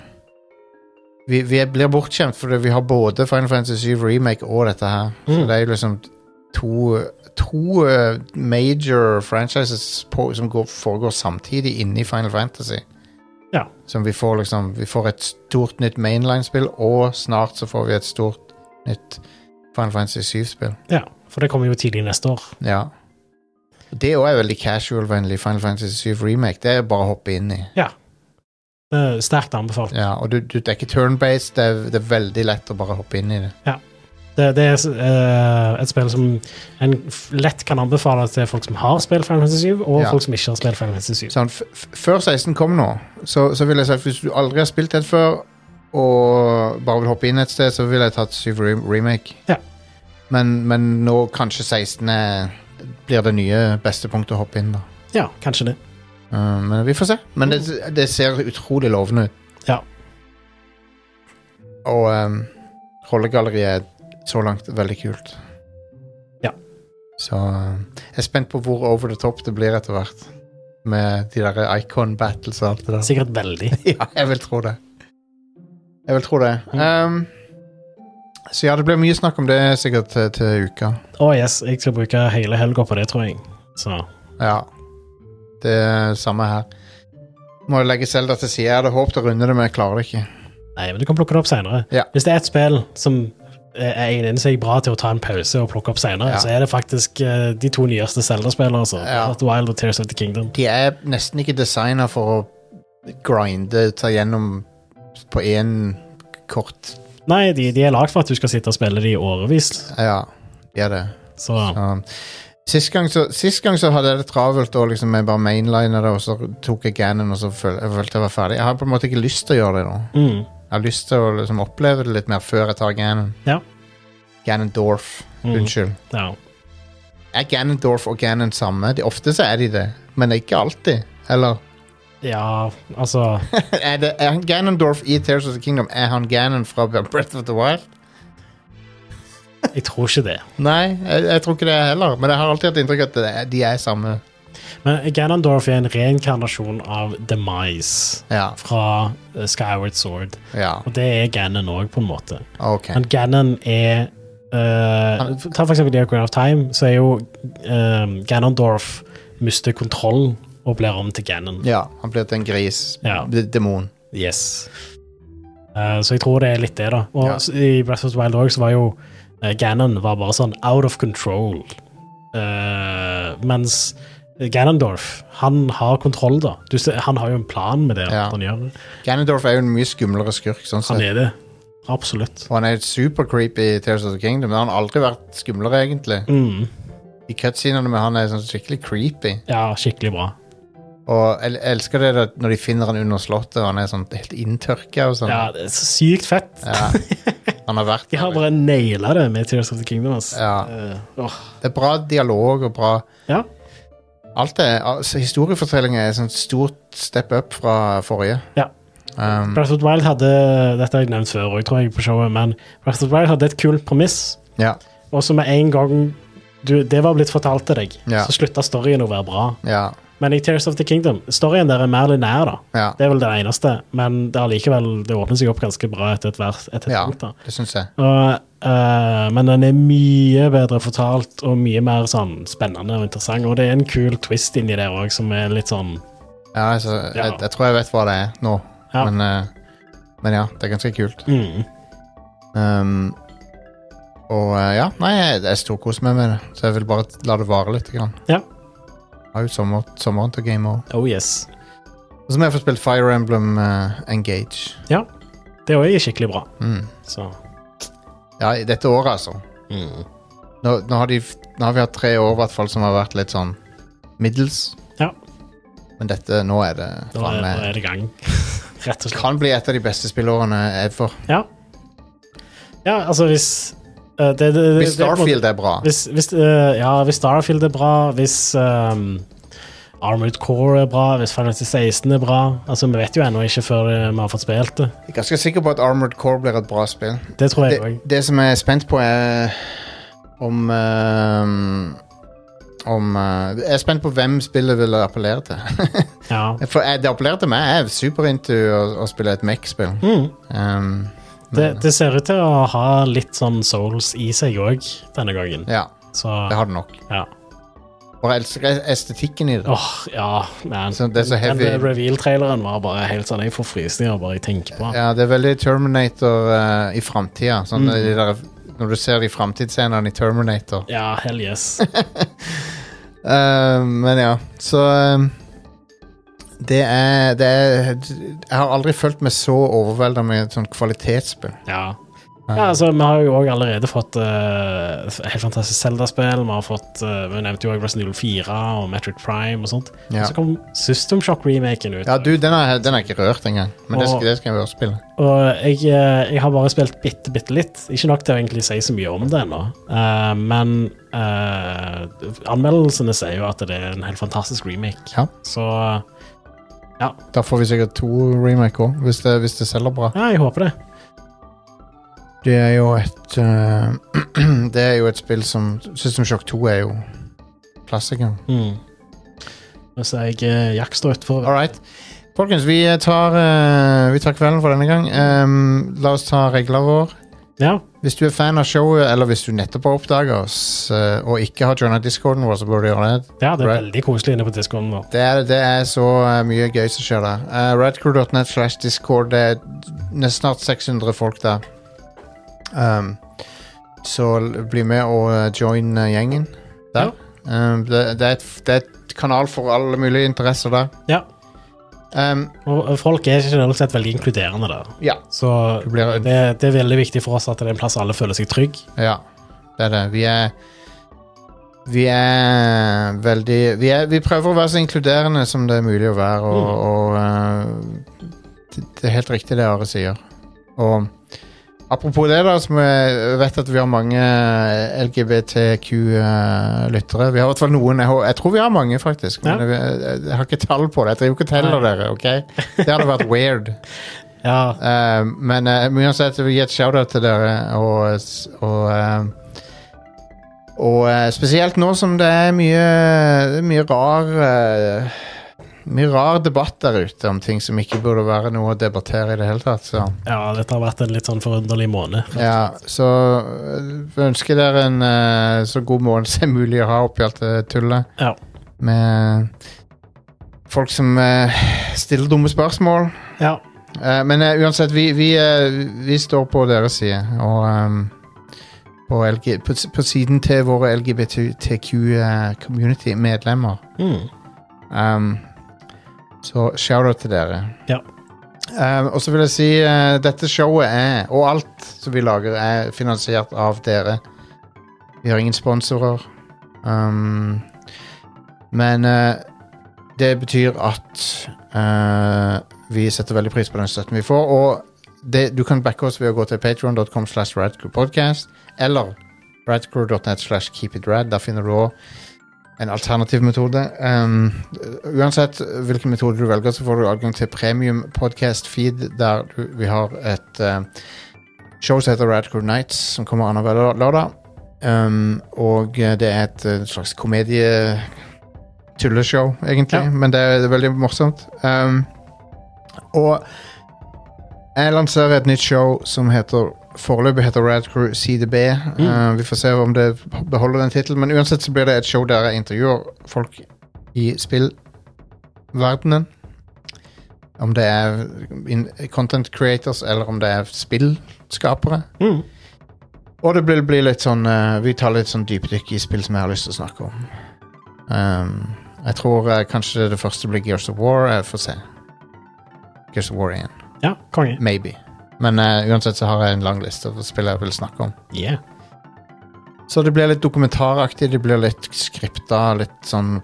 Speaker 3: vi, vi blir bortskjemt fordi vi har både Final Fantasy 7 Remake og dette her. Så
Speaker 4: Mm.
Speaker 3: det er jo liksom to, to eh, major franchises på, som går, foregår samtidig inni Final Fantasy.
Speaker 4: Ja.
Speaker 3: Som vi får liksom Vi får et stort nytt mainline-spill, og snart så får vi et stort nytt Final Fantasy 7-spill.
Speaker 4: ja. For det kommer jo tidlig neste år.
Speaker 3: Ja. Det òg er veldig casual-vennlig, Final Fantasy 7 Remake. Det er bare å hoppe inn i.
Speaker 4: Det er sterkt anbefalt.
Speaker 3: Ja, og du, du, det er ikke turn-based, det, er- det er veldig lett å bare hoppe inn i det.
Speaker 4: Det, det er eh, et spill som en f- lett kan anbefale til folk som har spilt Final Fantasy 7, og
Speaker 3: Ja.
Speaker 4: folk som ikke har spilt Final Fantasy 7.
Speaker 3: Sånn, f f før 16 kom nå, så, så vil jeg si at hvis du aldri har spilt den før, og bare vil hoppe inn et sted, så ville jeg tatt 7 re Remake.
Speaker 4: Ja.
Speaker 3: Men, men nå kanskje 16 er, blir det nye beste punktet å hoppe inn, da.
Speaker 4: Ja, kanskje det.
Speaker 3: Uh, men vi får se. Men det, det ser utrolig lovende ut.
Speaker 4: Ja.
Speaker 3: Og um, rollegalleriet er så langt veldig kult.
Speaker 4: Ja.
Speaker 3: Så um, jeg er spent på hvor over the top det blir etter hvert. Med de der icon battles og alt det der.
Speaker 4: Sikkert veldig.
Speaker 3: Ja, jeg vil tro det. Jeg vil tro det. Ehm, så ja, det blir mye snakk om det sikkert til, til uka.
Speaker 4: Å yes, jeg skal bruke hele helga på det, tror jeg. Så
Speaker 3: Ja. Det er samme her. Må legge Selda til side. Jeg hadde håpet å runde det, men jeg klarer det ikke.
Speaker 4: Nei, men du kan plukke det opp seinere.
Speaker 3: Ja.
Speaker 4: Hvis det er et spill som eh, er egnet seg bra til å ta en pause og plukke opp seinere,
Speaker 3: Ja.
Speaker 4: så er det faktisk eh, de to nyeste Zelda-spillene, altså.
Speaker 3: Ja.
Speaker 4: Breath of the Wild og Tears of the Kingdom.
Speaker 3: De er nesten ikke designa for å grinde, ta gjennom på én kort
Speaker 4: Nei, de, de er lagd for at du skal sitte og spille de i årevis,
Speaker 3: Ja, de er det.
Speaker 4: så
Speaker 3: Um, sist, gang så, sist gang så hadde jeg det travelt og liksom jeg bare mainlina det, og så tok jeg Ganon og så føl, jeg følte jeg var ferdig. Jeg har på en måte ikke lyst til å gjøre det nå.
Speaker 4: mm,
Speaker 3: Jeg har lyst til å liksom oppleve det litt mer før jeg tar Ganon.
Speaker 4: Ja.
Speaker 3: Ganondorf.
Speaker 4: Mhm.
Speaker 3: Unnskyld.
Speaker 4: ja.
Speaker 3: Er Ganondorf og Ganon samme? De, ofte så er de det, men ikke alltid. Eller
Speaker 4: ja, altså
Speaker 3: er, det, er han Ganondorf i Tears of the Kingdom Er han Ganon fra Breath of the Wild?
Speaker 4: Jeg tror ikke det.
Speaker 3: Nei, jeg, jeg tror ikke det heller. Men jeg har alltid hatt inntrykk av at det er- de er samme.
Speaker 4: Men Ganondorf er en reinkarnasjon av Demise
Speaker 3: Ja.
Speaker 4: fra eh, Skyward Sword.
Speaker 3: Ja,
Speaker 4: Og det er Ganon òg, på en måte.
Speaker 3: OK.
Speaker 4: Men Ganon er eh, Ta for eksempel The Ocarina of Time, så er jo eh, Ganondorf mister kontroll og blir om til Ganon.
Speaker 3: Ja, han blir til en gris.
Speaker 4: Ja.
Speaker 3: D- Demon.
Speaker 4: Yes. Eh, så jeg tror det er litt det, da. Og
Speaker 3: Ja.
Speaker 4: s- i Breath of the Wild òg så var jo eh, Ganon var bare sånn out of control. Eh, mens Ganondorf, han har kontroll, da. Du, ser- han har jo en plan med det
Speaker 3: Ja.
Speaker 4: han gjør.
Speaker 3: Ganondorf er jo en mye skumlere skurk, sånn
Speaker 4: Han
Speaker 3: sett.
Speaker 4: er det. Absolutt.
Speaker 3: Og han er super creepy i Tears of the Kingdom, men han har aldri vært skumlere, egentlig.
Speaker 4: Mm.
Speaker 3: I cutscenene med han er sånn skikkelig creepy.
Speaker 4: Ja, skikkelig bra.
Speaker 3: Og jeg jeg elsker det da, når de finner han under slottet, og han er sånn helt inntørka og sånn.
Speaker 4: Ja, det er så sykt fett.
Speaker 3: Ja. Han har vært
Speaker 4: De har bare naila det med Tears of the Kingdom. ass.
Speaker 3: Ja.
Speaker 4: Eh, åh.
Speaker 3: Det er bra dialog og bra
Speaker 4: ja.
Speaker 3: Alt er altså, Historiefortellinga er et sånt stort step up fra forrige.
Speaker 4: Ja.
Speaker 3: Um,
Speaker 4: Breath of the Wild hadde Dette har jeg nevnt før, og jeg tror jeg på showet, men Breath of the Wild hadde et kult premiss,
Speaker 3: ja.
Speaker 4: og så med en gang du, det var blitt fortalt til deg,
Speaker 3: Ja.
Speaker 4: så slutta storyen å være bra.
Speaker 3: Ja.
Speaker 4: Men i Tears of the Kingdom, storyen der er mer lineær, da.
Speaker 3: Ja.
Speaker 4: Det er vel det eneste, men det er allikevel, det åpner seg opp ganske bra etter et vers. Etter et
Speaker 3: ja.
Speaker 4: punkt, da.
Speaker 3: Det syns jeg.
Speaker 4: Og, eh, men den er mye bedre fortalt og mye mer sånn spennende og interessant. Og det er en kul twist inni der òg, som er litt sånn
Speaker 3: Ja, altså, Jeg, jeg tror jeg vet hva det er nå,
Speaker 4: Ja.
Speaker 3: men, eh, men ja, det er ganske kult.
Speaker 4: mm,
Speaker 3: Um, og eh, ja, nei, jeg, jeg storkoser meg med det, så jeg vil bare la det vare litt. Grann.
Speaker 4: Ja.
Speaker 3: Har jo sommer, sommeren til å game òg.
Speaker 4: Oh yes.
Speaker 3: Og så må jeg få spilt Fire Emblem eh, Engage.
Speaker 4: Ja. Det òg er skikkelig bra.
Speaker 3: Mm.
Speaker 4: Så
Speaker 3: Ja, i dette året, altså.
Speaker 4: mm.
Speaker 3: Nå, nå, har de, nå har vi hatt tre år i hvert fall som har vært litt sånn middels.
Speaker 4: Ja.
Speaker 3: Men dette, nå er det
Speaker 4: da, er, da
Speaker 3: framme.
Speaker 4: er det gang. Rett og slett.
Speaker 3: Kan bli et av de beste spillårene ever.
Speaker 4: Ja. Ja, altså, hvis eh, det, det, det,
Speaker 3: Hvis
Speaker 4: det er på en måte-
Speaker 3: Starfield er bra.
Speaker 4: Hvis, hvis, eh, ja, hvis Starfield er bra, hvis ehm, Armored Core er bra, hvis Final Fantasy 16 er bra Altså, Vi vet jo ennå ikke før eh, vi har fått spilt det.
Speaker 3: Jeg er ganske sikker på at Armored Core blir et bra spill.
Speaker 4: Det tror jeg
Speaker 3: Det,
Speaker 4: òg.
Speaker 3: det som jeg er spent på, er om eh, om eh, Jeg er spent på hvem spillet vil appellere til.
Speaker 4: Ja.
Speaker 3: For jeg, det appellerer til meg. Jeg er superinto å, å spille et Mech-spill.
Speaker 4: Mm.
Speaker 3: Um,
Speaker 4: Det, det ser ut til å ha litt sånn Souls i seg òg denne gangen.
Speaker 3: ja,
Speaker 4: Så
Speaker 3: det har det nok.
Speaker 4: ja.
Speaker 3: Og jeg elsker estetikken i det.
Speaker 4: Åh, ja, man.
Speaker 3: Så det er så heavy.
Speaker 4: Den reveal-traileren var bare helt sånn Jeg får frysninger bare jeg tenker på den.
Speaker 3: Ja, det er veldig Terminator eh, i framtida. Sånn,
Speaker 4: Mm.
Speaker 3: de der- Når du ser de framtidsscenene i Terminator.
Speaker 4: Ja, hell yes.
Speaker 3: Eh, men ja, så eh, det, er, det er Jeg har aldri følt meg så overvelda med et sånt kvalitetsspill.
Speaker 4: Ja. Ja, altså, Vi har jo også allerede fått eh, helt fantastisk Zelda-spill. Vi har fått, eh, vi nevnte jo også Resident Evil 4 og Metric Prime og sånt.
Speaker 3: Ja.
Speaker 4: Og så kom System Shock-remaken ut.
Speaker 3: Ja, du, den har den har jeg ikke rørt engang. Men det,
Speaker 4: Og-
Speaker 3: skal- det skal jeg bare spille.
Speaker 4: Og jeg, eh, jeg har bare spilt bitte, bitte litt. Ikke nok til å egentlig si så mye om det ennå. Eh, men eh, anmeldelsene sier jo at det er en helt fantastisk remake.
Speaker 3: Ja.
Speaker 4: Så eh,
Speaker 3: Da får vi sikkert to remake òg, hvis, det- hvis det selger bra.
Speaker 4: ja, jeg håper det.
Speaker 3: Det er jo et eh, Det er jo et spill som System Shock 2 er jo klassikeren.
Speaker 4: Mm. Nå ser jeg eh, Jack stå utfor.
Speaker 3: All right. Folkens, vi tar, eh, vi tar kvelden for denne gang. Ehm, la oss ta regler vår.
Speaker 4: Ja.
Speaker 3: Hvis du er fan av showet, eller hvis du nettopp har oppdaga oss eh, og ikke har joina discorden vår, så bør du gjøre det.
Speaker 4: ja, det er
Speaker 3: Right.
Speaker 4: veldig koselig inne på discoen vår.
Speaker 3: Det er, det er så eh, mye gøy som skjer der. Eh, Radcrew.net slash discord. Det er nesten snart 600 folk der. Ehm, så l- bli med og eh, join eh, gjengen der. Ehm, det, det, er et, f- det er et kanal for alle mulige interesser der.
Speaker 4: Ja.
Speaker 3: Ehm,
Speaker 4: Og folk er generelt sett veldig inkluderende der.
Speaker 3: ja.
Speaker 4: Så
Speaker 3: Du blir en-
Speaker 4: det, det er veldig viktig for oss at det er en plass alle føler seg trygg.
Speaker 3: Ja, det er det. Vi er Vi er veldig Vi, er, vi prøver å være så inkluderende som det er mulig å være, og, og eh, det, det er helt riktig det Are sier. Og apropos det, da, som jeg vet at vi har mange LGBTQ-lyttere. eh, Vi har i hvert fall noen. Jeg, hå- jeg tror vi har mange, faktisk. Men
Speaker 4: Ja.
Speaker 3: jeg, jeg, jeg har ikke tall på det. Jeg driver ikke og teller dere, OK? Det hadde vært weird.
Speaker 4: Ja,
Speaker 3: Eh, men eh, men uansett, jeg vil gi et shout-out til dere. Og, og eh, Og eh, spesielt nå som det er mye, mye rar eh, Mye rar debatt der ute om ting som ikke burde være noe å debattere i det hele tatt. Så,
Speaker 4: Ja, dette har vært en litt sånn forunderlig måned.
Speaker 3: ja, så eh, ønsker dere en eh, så god måned som mulig å ha oppi alt det tullet
Speaker 4: Ja.
Speaker 3: med folk som eh, stiller dumme spørsmål.
Speaker 4: ja.
Speaker 3: Eh, men eh, uansett, vi, vi, eh, vi står på deres side. Og ehm, på, LG, på, s- på siden til våre eh, LGBTQ-community-medlemmer.
Speaker 4: Mm.
Speaker 3: Ehm, så shout-out til dere.
Speaker 4: Ja.
Speaker 3: Ehm, og så vil jeg si eh, dette showet er, og alt som vi lager, er finansiert av dere. Vi har ingen sponsorer. Ehm, men eh, det betyr at eh, vi setter veldig pris på den støtten vi får. Og det, du kan backe oss ved å gå til patreon.com slash radcrewpodcast eller radcrew.net slash keepitrad. Der finner du òg en alternativ metode. Um, uansett hvilken metode du velger, så får du adgang til premium podcast feed, der du, vi har et eh, show som heter Radcrew Nights, som kommer annenhver lør- lørdag. Um, og eh, det er et eh, slags komedie tulleshow, egentlig,
Speaker 4: Ja.
Speaker 3: men det er, det er veldig morsomt. Um, og jeg lanserer et nytt show som heter Foreløpig heter Radcrew CDB. Eh, vi får se om det beholder den tittelen. Men uansett så blir det et show der jeg intervjuer folk i spillverdenen. Om det er in- content creators, eller om det er spillskapere.
Speaker 4: Mm.
Speaker 3: Og det blir, blir litt sånn eh, Vi tar litt sånn dypdykk i spill som jeg har lyst til å snakke om. Ehm, jeg tror eh, kanskje det første blir Gears of War. Jeg får se. Gears of War 1.
Speaker 4: ja konge.
Speaker 3: Maybe. Men eh, uansett så har jeg en lang liste over spill jeg vil snakke om.
Speaker 4: Yeah.
Speaker 3: Så det blir litt dokumentaraktig, det blir litt skripta, litt sånn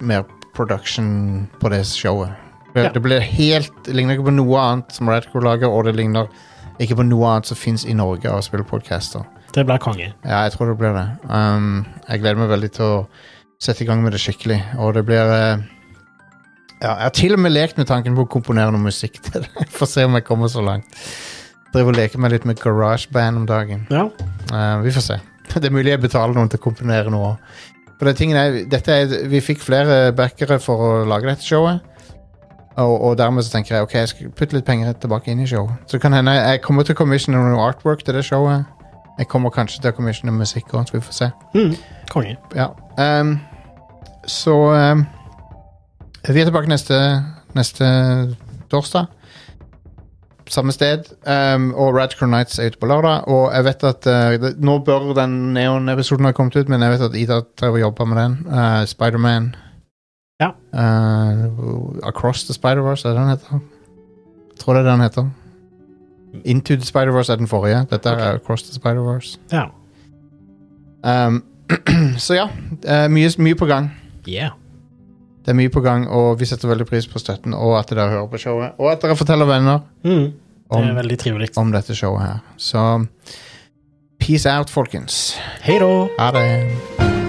Speaker 3: mer production på det showet. Det,
Speaker 4: Ja.
Speaker 3: det blir helt Det ligner ikke på noe annet som Radcore lager, og det ligner ikke på noe annet som fins i Norge av spillpodcaster.
Speaker 4: Det blir konge.
Speaker 3: Ja, jeg tror det blir det. Um, jeg gleder meg veldig til å sette i gang med det skikkelig, og det blir eh, Ja, jeg har til og med lekt med tanken på å komponere noe musikk til det. Får se om jeg kommer så langt. Driver og leker meg litt med GarageBand om dagen.
Speaker 4: Ja.
Speaker 3: Eh, vi får se. Det er mulig jeg betaler noen til å komponere noe òg. For det tingen er, dette er, vi fikk flere backere for å lage dette showet. Og, og dermed så tenker jeg ok, jeg skal putte litt penger tilbake inn i showet. Så det kan hende jeg kommer til å commissione noe artwork til det showet. Jeg kommer kanskje til å commissione musikk òg, vi får se.
Speaker 4: Mm. Konge.
Speaker 3: Ja. ehm, så ehm, Vi er tilbake neste, neste torsdag. Samme sted. ehm, og Radcrow Nights er ute på lørdag. Og jeg vet at eh, det, Nå bør den Neon-episoden ha kommet ut, men jeg vet at Ida driver og jobber med den. Eh, Spiderman.
Speaker 4: Ja.
Speaker 3: Eh, Across the Spider-Verse, er det den heter? Tror det er det den heter. Into the Spider-Verse er den forrige. Dette er Across the Spider-Verse.
Speaker 4: Ja.
Speaker 3: Um, så ja, eh, mye, mye på gang.
Speaker 4: Yeah.
Speaker 3: Det er mye på gang, og vi setter veldig pris på støtten, og at dere hører på showet, og at dere forteller venner
Speaker 4: Mm. Det er
Speaker 3: om,
Speaker 4: veldig trivelig.
Speaker 3: om dette showet her. Så peace out, folkens.
Speaker 4: Hei da!
Speaker 3: Ha det.